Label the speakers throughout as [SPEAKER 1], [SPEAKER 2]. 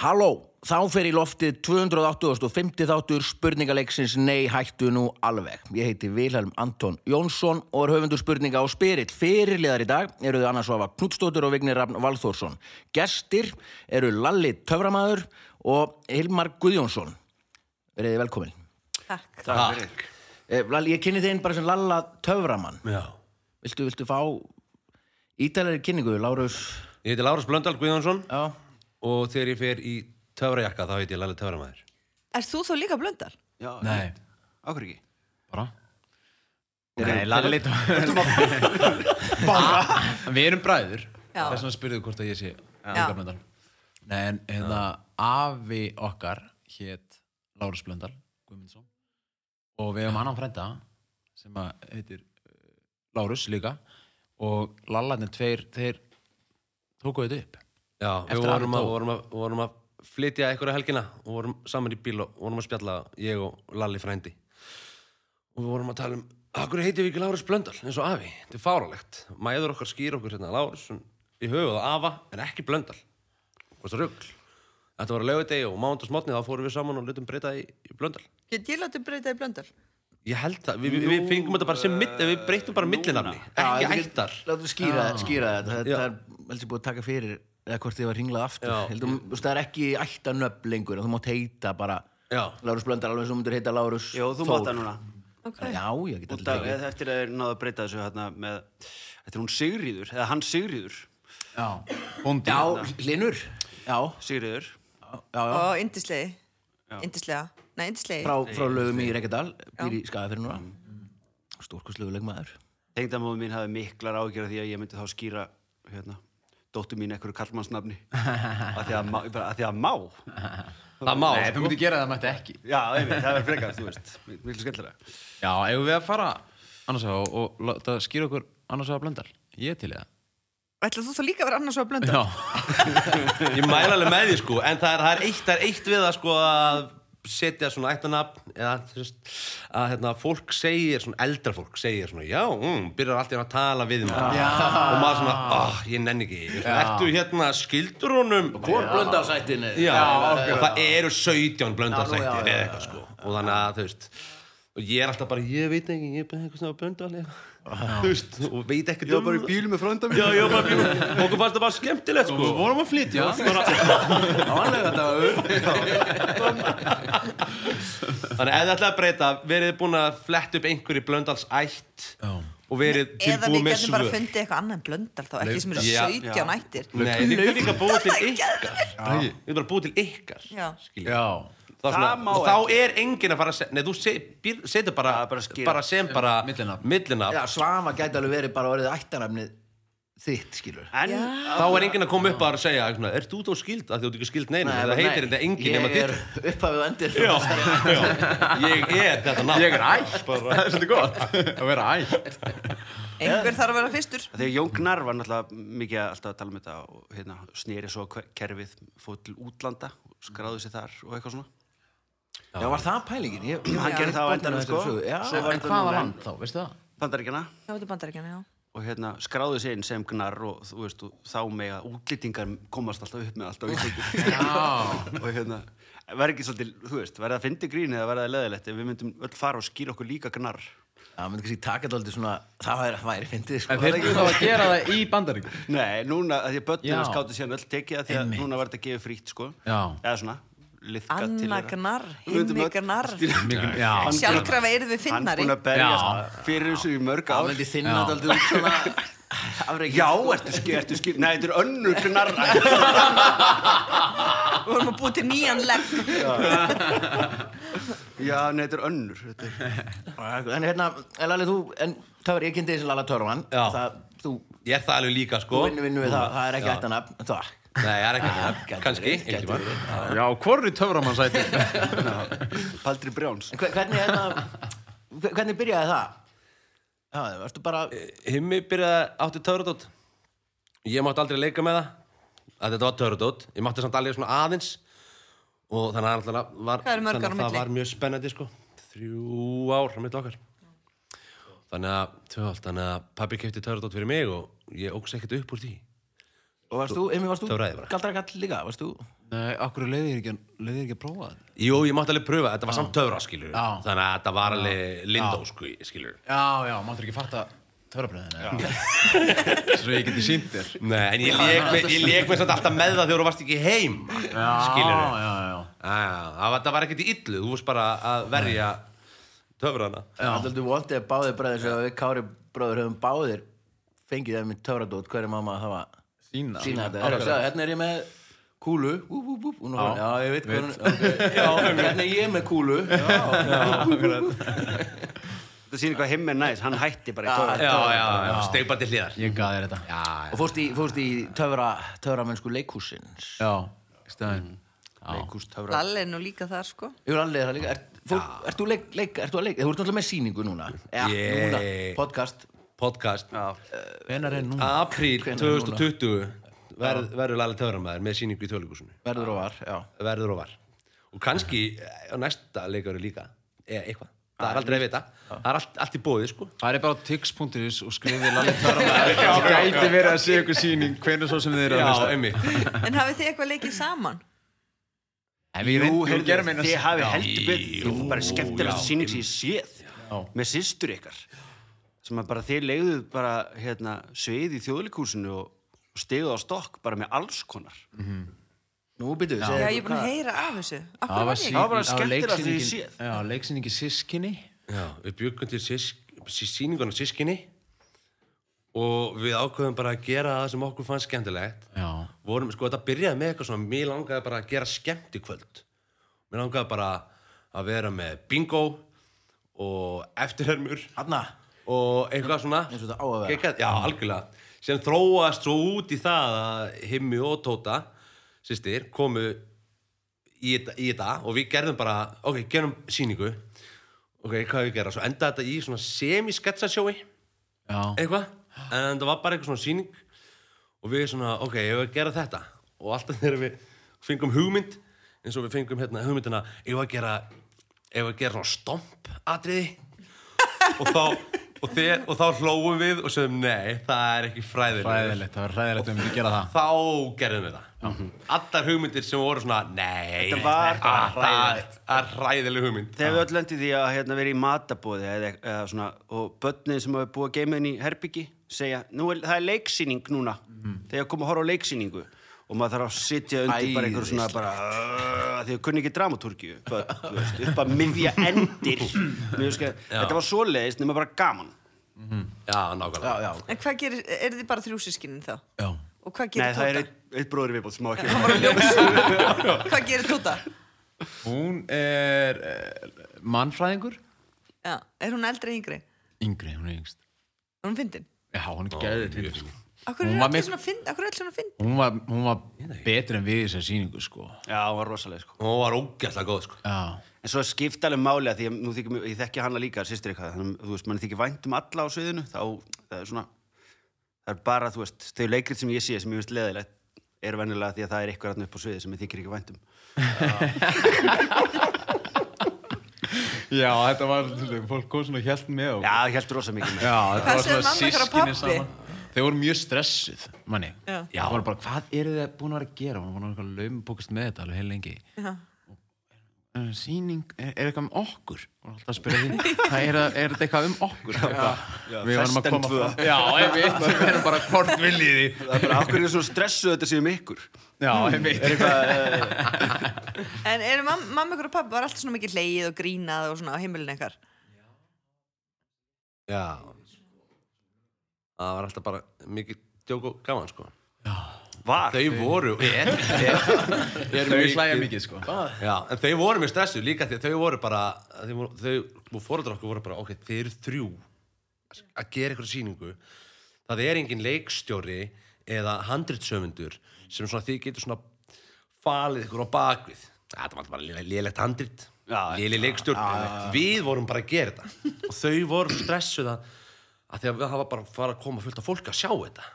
[SPEAKER 1] Halló, þá fer í loftið 280.50 þáttur spurningaleiksins Nei hættu nú alveg. Ég heiti Vilhelm Anton Jónsson og er höfundur spurninga á Spyrill. Fyrirliðar í dag eru þau annars ofa Knutstóttur og Vignir Rafn Valþórsson. Gestir eru Lalli Töframæður og Hilmar Guðjónsson. Verðið velkomin.
[SPEAKER 2] Takk.
[SPEAKER 3] Takk.
[SPEAKER 1] Eh, Lalli, ég kynni þeim bara sem Lalla Töframann.
[SPEAKER 3] Já.
[SPEAKER 1] Viltu, viltu fá ítalari kynningu, Lárus?
[SPEAKER 3] Ég heiti Lárus Blöndal Guðjónsson
[SPEAKER 1] Já.
[SPEAKER 3] og þegar ég fer í töfrajakka þá heiti ég Lalli Töframæður.
[SPEAKER 2] Er þú þá líka blöndar?
[SPEAKER 4] Já,
[SPEAKER 5] Nei,
[SPEAKER 4] ákveð ekki
[SPEAKER 5] bara Nei, Lalli Bara Við erum bræður
[SPEAKER 2] Já.
[SPEAKER 5] Þess vegna spyrðu hvort að ég sé
[SPEAKER 2] Já.
[SPEAKER 5] Líka Blöndal Nei, en hérna afi okkar hét Lárus Blöndal Guðmundsson og við hefum annan frænda sem að heitir uh, Lárus líka og Lallarnir tveir þeir tóku þetta upp
[SPEAKER 3] Já, við
[SPEAKER 5] Eftir að
[SPEAKER 3] vorum
[SPEAKER 5] hann
[SPEAKER 3] að,
[SPEAKER 5] dó.
[SPEAKER 3] vorum, að, vorum að flytja einhverja helgina og vorum saman í bíl og vorum að spjalla ég og Lalli frændi. Og við vorum að tala um, akkur heitum við ekki Lárus Blöndal eins og afi, þetta er fáralegt. Mæður okkar skýr okkur hérna Lárus í höfuð og afa en ekki Blöndal. Hvað er rugl? Þetta var að lögudegi og mándagsmotni þá fórum við saman og lutum breyta í, í Blöndal.
[SPEAKER 2] Get ég látið breyta í blöndar?
[SPEAKER 3] Ég held það, við, við, við fengum þetta bara sem mitt, við breytum bara millinafni,
[SPEAKER 1] Já,
[SPEAKER 3] ekki
[SPEAKER 1] við-
[SPEAKER 3] ættar.
[SPEAKER 1] Láttu skýra, skýra þetta, þetta
[SPEAKER 3] Já.
[SPEAKER 1] er heldur búið að taka fyrir eða hvort þið var ringlað aftur
[SPEAKER 3] Já.
[SPEAKER 1] heldur, þú veist, það er ekki ættanöfn lengur þú mátt heita bara
[SPEAKER 3] Já.
[SPEAKER 1] Lárus Blöndal alveg sem þú myndir heita Lárus
[SPEAKER 4] Jó, þú
[SPEAKER 1] Þór.
[SPEAKER 4] mátt það núna
[SPEAKER 2] Ok.
[SPEAKER 1] Já, ég get
[SPEAKER 4] Út
[SPEAKER 1] alltaf
[SPEAKER 4] af,
[SPEAKER 1] tekið.
[SPEAKER 4] eftir að þeir náðu að breyta þessu hérna með Þetta er hún Sigríður, eða hann Sigríður
[SPEAKER 5] Já, bóndi
[SPEAKER 1] Já, Linur Já,
[SPEAKER 4] Sigríður
[SPEAKER 1] já, já,
[SPEAKER 2] Og indislegi. Indislega. Nei, indislegi.
[SPEAKER 1] frá, frá lögum í Reykjadal býr í skaði fyrir núna stórkurslegu leikmaður
[SPEAKER 4] Tengdamóðu mín hafi miklar ágjörð því að ég myndi þá skýra hérna, dóttu mín einhverju kallmannsnafni að því að má, bara, að því að má.
[SPEAKER 3] Það má,
[SPEAKER 5] Nei, þú
[SPEAKER 3] sko.
[SPEAKER 5] mútti gera það mætti ekki
[SPEAKER 4] Já, einmitt, það er frekar, þú veist Miklu skemmtilega
[SPEAKER 5] Já, eigum við að fara annars að og, og láta skýra okkur annars að blöndal Ég er til í það
[SPEAKER 2] Ætla þú þá líka að vera annars á blöndar?
[SPEAKER 5] Já,
[SPEAKER 3] ég mæla alveg með því sko en það er, það er, eitt, það er eitt við að sko að setja svona ættanafn eða þú veist að hérna, fólk segir svona eldra fólk segir svona já, mm, byrjar alltaf að tala við maður já. og maður svona, ah, ég nenni ekki Ég svona, ertu hérna skildur honum
[SPEAKER 1] Hvor Blöndalsættinni
[SPEAKER 3] já, og það eru 17 blöndarsættir
[SPEAKER 1] Já, nú, já,
[SPEAKER 3] eða eitthvað sko og þannig að þú veist og ég er alltaf bara, ég veit ekki, ég er bara eitthvað svona blöndal þú veist, og veit um- ekki ég var bara í bílu með frönda já, ég var bara í bílu, okkur fannst það bara skemmtilegt sko
[SPEAKER 5] við vorum að flytja
[SPEAKER 1] Ánlega þetta
[SPEAKER 3] Þannig að ef þið ætlaði að breyta, verið þið búin að flett upp einhverju blöndals ætt og verið
[SPEAKER 2] Eða við
[SPEAKER 3] tilbúið með
[SPEAKER 2] getum
[SPEAKER 3] svör.
[SPEAKER 2] bara að fundi eitthvað annað en blöndar þá, ekki sem eru
[SPEAKER 3] Já.
[SPEAKER 2] 17 nættir.
[SPEAKER 3] Nei, þið getum líka búið til ykkar.
[SPEAKER 5] Já.
[SPEAKER 3] Þið getum bara búið til ykkar.
[SPEAKER 2] Oh Já.
[SPEAKER 3] skiljið.
[SPEAKER 5] Já,
[SPEAKER 3] Það er
[SPEAKER 4] Það má
[SPEAKER 3] svona, og þá er enginn að fara að segja, nei, þú se, býr- setur bara,
[SPEAKER 4] Já, bara skýra.
[SPEAKER 3] bara sem bara
[SPEAKER 5] Millinafn.
[SPEAKER 3] millinafn.
[SPEAKER 1] Já, Svama gæti alveg verið bara orðið ættanöfnið þitt, skilur
[SPEAKER 4] En,
[SPEAKER 3] Þá er enginn að koma upp að segja, svona, er þú þá skild? Það þú ert ekki skild neina, það heitir þetta enginn nema
[SPEAKER 1] Ég er
[SPEAKER 3] þér.
[SPEAKER 1] upphafið og endir
[SPEAKER 3] Já, já, ég er þetta nafn.
[SPEAKER 5] Ég er ætt, það er svolítið gott að vera ætt
[SPEAKER 2] Einhver þarf að vera fyrstur.
[SPEAKER 4] Þegar Jóngnar var náttúrulega mikið alltaf að tala um þetta og hérna, snýri svo hver- kerfið fóð til útlanda, skráði sér þar og eitthvað svona
[SPEAKER 1] Já, var það pælingin? Ég, ég
[SPEAKER 4] Hann gerði það á endanum, sko.
[SPEAKER 1] Já,
[SPEAKER 4] Svo var
[SPEAKER 5] En
[SPEAKER 4] þetta
[SPEAKER 5] hvaða
[SPEAKER 4] núna-
[SPEAKER 5] land þá, veistu það?
[SPEAKER 4] Bandaríkjana
[SPEAKER 2] Já, þetta er bandaríkjana, já.
[SPEAKER 4] og hérna skráðu sig inn sem gnar og þú veist, og þá með að útlýtingar komast alltaf upp með alltaf útlýtingar og hérna, verði ekki svolítið þú veist, verði að fyndi grín eða verði að leðilegt ef við myndum öll fara og skýra okkur líka gnar
[SPEAKER 1] Já, myndi kannski taka þetta aldrei svona, það væri, væri fyndið, sko.
[SPEAKER 5] En þeir eru þá að gera það í bandarík
[SPEAKER 4] Nei, núna, að því að
[SPEAKER 5] Já.
[SPEAKER 4] börnina skáttu síðan öll tekið að því að
[SPEAKER 5] Einmitt.
[SPEAKER 4] núna var þetta gefið frítt, sko
[SPEAKER 5] Já.
[SPEAKER 4] eða svona, liðka til
[SPEAKER 2] Anna
[SPEAKER 4] þeirra.
[SPEAKER 2] gnar,
[SPEAKER 4] Við myndum
[SPEAKER 2] himmi
[SPEAKER 4] öll
[SPEAKER 2] gnar.
[SPEAKER 5] Já,
[SPEAKER 2] Sjálfkrafa erum við
[SPEAKER 4] Hann
[SPEAKER 2] finnari.
[SPEAKER 4] búin að berjast fyrir þessu í mörg
[SPEAKER 1] Það
[SPEAKER 4] ár
[SPEAKER 1] myndi þinna þetta aldrei út svona afreikið.
[SPEAKER 4] Já, ertu skýr, ertu skýr, nei, þetta er önnur gnar
[SPEAKER 2] Við vorum að búið til nýjan legg.
[SPEAKER 4] Já, nei, þetta er önnur þetta er...
[SPEAKER 1] En hérna, en Lalli, þú, en töfri, ég kynnti þessi Lalla Törman.
[SPEAKER 3] Já.
[SPEAKER 1] Það, þú,
[SPEAKER 3] Ég er það alveg líka,
[SPEAKER 1] þú
[SPEAKER 3] sko.
[SPEAKER 1] vinnu, vinnu við það, það er ekki ættan að, það.
[SPEAKER 3] Nei, ég er ekki það.
[SPEAKER 1] gæti
[SPEAKER 3] Kanski,
[SPEAKER 1] verið, gæti
[SPEAKER 3] einhvern veginn.
[SPEAKER 5] já hvorri töframann sæti
[SPEAKER 4] Paldri Brjáns
[SPEAKER 1] En hve- hvernig, hérna, hve- hvernig byrjaði það? Já, það varstu bara,
[SPEAKER 3] Himmi byrjaði átti törudót Ég mátti aldrei leika með það að þetta var törudót Ég mátti samt alveg svona aðeins og þannig að það var,
[SPEAKER 2] Hvað eru mörg ár á
[SPEAKER 3] þannig að það
[SPEAKER 2] milli?
[SPEAKER 3] var mjög spennandi sko þrjú ár á milli okkar þannig að, tjóðalt, þannig að pabbi kefti törudót fyrir mig og ég óks ekkert upp úr því
[SPEAKER 1] Og varst þú, Emi, varst þú
[SPEAKER 3] Það var ræði bara.
[SPEAKER 1] galdrakall líka, varst þú?
[SPEAKER 5] Nei, okkur leiðir ekki, leiðir ekki að prófa það
[SPEAKER 3] Jú, ég mátti alveg pröfa, þetta var samt töfra, skilur
[SPEAKER 5] Já.
[SPEAKER 3] Þannig að þetta var alveg lindó, sko, skilur
[SPEAKER 5] Já, já, máttur ekki fatta töfrabröðin Svo ég geti sínt þér
[SPEAKER 3] Nei, en ég lék með, ég lék með samt alltaf með það þegar þú varst ekki heim Skilur
[SPEAKER 5] Já, já, já
[SPEAKER 3] Það var- það var ekkert í illu, þú varst bara að verja töfrana
[SPEAKER 1] Alltaf þú vondið að báðir bræðir sem við Kári bróður höfum báðir fengið þeim með töfradót hverju mamma það var
[SPEAKER 5] Sýna.
[SPEAKER 1] sína þetta. Herra, sjá, Hérna er ég með kúlu úp, úp, úp, hún er horfin. Já, ég veit hvað hún okay. Já, hérna er ég með kúlu Já,
[SPEAKER 4] Þetta sýnir hvað himmi er næs, hann hætti bara í
[SPEAKER 3] Já,
[SPEAKER 4] tóra.
[SPEAKER 3] já, já, steig bara til hliðar
[SPEAKER 5] Ég gaði þér þetta
[SPEAKER 3] Já,
[SPEAKER 1] Og fórst í, fórst í töfra, töframennsku leikhúsins
[SPEAKER 5] Já, stæðin
[SPEAKER 4] Leikúst töfra.
[SPEAKER 2] Lalli er nú líka þar sko
[SPEAKER 1] Ég er alveg það líka Er, fór, ert þú leik, leik, ert þú að leik Þú ert náttúrulega með sýningu núna Já,
[SPEAKER 3] Ég-
[SPEAKER 1] núna, podcast
[SPEAKER 3] podcast
[SPEAKER 4] Já,
[SPEAKER 5] Hvenær er núna?
[SPEAKER 3] Apríl 2020 verð- verður Lalli töframæður með sýningu í Þjóðleikúsinu
[SPEAKER 1] Verður og var, já
[SPEAKER 3] verður og var og kannski eh, á næsta leikari líka eða eitthvað, það
[SPEAKER 5] Ah,
[SPEAKER 3] er aldrei að vita það er allt, allt í bóði sko
[SPEAKER 5] Það er bara á tix.is og skrifið Lalli Törnberg Það gæti verið að sé ykkur síning hvernig svo sem þið eru að hlusta
[SPEAKER 3] einmitt
[SPEAKER 2] En hafið þið eitthvað leikið saman?
[SPEAKER 5] En við
[SPEAKER 4] Jú,
[SPEAKER 5] reyndum- við
[SPEAKER 4] heyrðu,
[SPEAKER 5] gerum eina-
[SPEAKER 4] þið hafi
[SPEAKER 5] Já.
[SPEAKER 4] heldur betur,
[SPEAKER 3] Jú,
[SPEAKER 4] þið bara skemmtilegast
[SPEAKER 3] já,
[SPEAKER 4] sýning sem ég séð með systur ykkar sem að bara þið leiðuð bara hérna, sveið í þjóðleikúsinu og stegið á stokk bara með alls konar
[SPEAKER 1] Nú býtu
[SPEAKER 2] Já, ég er búin að heyra af þessu Af
[SPEAKER 5] Það
[SPEAKER 2] hverju var
[SPEAKER 5] var
[SPEAKER 2] ég?
[SPEAKER 5] sí-
[SPEAKER 2] ekki?
[SPEAKER 4] Það
[SPEAKER 5] það
[SPEAKER 4] var bara
[SPEAKER 5] var
[SPEAKER 4] skemmtilegast sem ég
[SPEAKER 5] leiksýningin- Já, leiksýningi sískinni
[SPEAKER 3] Já, við byggum til sísk, sýninguna sískinni og við ákveðum bara að gera það sem okkur fannst skemmtilegt
[SPEAKER 5] Já
[SPEAKER 3] vorum, sko, þetta byrjaði með eitthvað svona mér langaði bara að gera skemmt í kvöld mér langaði bara að vera með bingo og eftirhermur
[SPEAKER 1] Hanna
[SPEAKER 3] og eitthvað svona
[SPEAKER 1] Eins og þetta á að vera.
[SPEAKER 3] Gekkað- já, algjörlega sem þróast svo út í það að himmi og Tóta sýstir komu í, þetta- í þetta og við gerðum bara ok, gerum sýningu ok, hvað við gera, svo endaði þetta í svona semi-sketsasjói
[SPEAKER 5] Já
[SPEAKER 3] eitthvað en það var bara eitthvað svona sýning og við svona, ok, ég var að gera þetta og alltaf þegar við fengum hugmynd eins og við fengum hérna hugmyndina ég var að gera, ég var að gera svona stomp atriði og þá, og þeir, og þá hlóum við og sögum, nei, það er ekki fræðilegt
[SPEAKER 5] Ræðilegt, það var ræðilegt um við gera það
[SPEAKER 3] þá gerðum við það allar hugmyndir sem voru svona, nei
[SPEAKER 4] Þetta var
[SPEAKER 3] að-
[SPEAKER 4] hræðilegt.
[SPEAKER 3] að- að ræðileg hugmynd
[SPEAKER 4] Þegar við öll lendið því að hérna, vera í matabóði eða, eða svona, og börnin sem hafa búið að geima inn í herbyggi segja, nú er, það er leiksýning núna þegar koma að horfa á leiksýningu og maður þarf að sitja undir bara einhver svona bara, "Ugh," því að kunni ekki dramatúrkju börn, þú veist, upp að miðja endir Mér veist, þetta var svoleiðis nema bara gaman
[SPEAKER 3] já, nákvæmlega
[SPEAKER 1] Já, já
[SPEAKER 2] En hvað gerir, er þið bara þrjúsiskinin þá?
[SPEAKER 5] Já
[SPEAKER 2] Og hvað
[SPEAKER 4] Nei,
[SPEAKER 2] gerir
[SPEAKER 4] það er
[SPEAKER 2] Tóta?
[SPEAKER 4] eitt, eitt bróður viðbótt sem á ekki
[SPEAKER 2] Hann var að ljósa. Hvað gerir Tóta?
[SPEAKER 5] Hún er eh, mannfræðingur
[SPEAKER 2] Já, er hún eldri eða yngri?
[SPEAKER 5] Yngri, hún er yngst
[SPEAKER 2] Er hún fyndin?
[SPEAKER 5] Já, hún er gæðið til
[SPEAKER 2] Akkur
[SPEAKER 5] Hún
[SPEAKER 2] er
[SPEAKER 5] var
[SPEAKER 2] allir
[SPEAKER 5] mik-
[SPEAKER 2] svona fynd? Akkur er allir svona fynd?
[SPEAKER 5] Hún var, hún var betur en við í þessar sýningu sko
[SPEAKER 4] Já, hún var rosalega sko
[SPEAKER 3] hún var ógæslega góð, sko
[SPEAKER 5] Já
[SPEAKER 4] En svo skipta alveg máli að því að nú þykir, mér- ég þekki hana líka, sýstir eitthvað, þannig að þú veist, mann þykir vænt um alla á sviðinu, þá það er svona, það er bara, þú veist, þau leikrið sem ég sé sem ég veist leðilegt er venjulega því að það er eitthvað rann upp á sviði sem ég þykir ekki vænt um.
[SPEAKER 5] Já, þetta var, fólk kom svona hjælt með og
[SPEAKER 4] Já, ég held rosa mikið um með.
[SPEAKER 5] Já, þetta
[SPEAKER 2] Hvað
[SPEAKER 5] var
[SPEAKER 2] sögðu
[SPEAKER 5] svona
[SPEAKER 2] mamma ykkar og
[SPEAKER 5] sískinni
[SPEAKER 2] pabbi?
[SPEAKER 5] saman Þau voru mjög stressuð, manni
[SPEAKER 2] Já.
[SPEAKER 5] Já, það var bara, hvað eru þið búin að vera að gera? Hún var náttúrulega laumubókast með þetta alveg heil lengi
[SPEAKER 2] Já.
[SPEAKER 5] Eh, Sýning, er, er eitthvað um okkur? Hún var alltaf að spyrja því Það er, er þetta eitthvað um okkur? Eitthvað. Við varum að
[SPEAKER 4] Festen
[SPEAKER 5] koma
[SPEAKER 4] tvö.
[SPEAKER 5] fram Já, ég veit, við erum bara hvort viljið því
[SPEAKER 4] Það er bara, okkur er þið svona stressuð þetta séum ykkur.
[SPEAKER 5] Já, ég veit
[SPEAKER 2] En eru mam- mamma ykkur og pabbi var alltaf svona mikið leið og grínað og svona á heimilinu ykkar?
[SPEAKER 3] Já Það var alltaf bara mikið djók og gaman sko
[SPEAKER 4] Var?
[SPEAKER 3] Þau voru er, er, er
[SPEAKER 5] Þau hlæja mikið, sko
[SPEAKER 3] Já, en þau voru mjög stressu líka því að þau voru bara þau, voru- þau og fóreldrar okkur voru bara ok, þau eru þrjú að gera eitthvað sýningu það er engin leikstjóri eða handritsöfundur sem svona þið getur svona falið ykkur á bakvið Það var alltaf bara lélegt handrit
[SPEAKER 4] Já,
[SPEAKER 3] léleg leikstjórn Við vorum bara að gera þetta og þau voru stressuð að að því að það var bara að fara að koma fullt af fólk að sjá þetta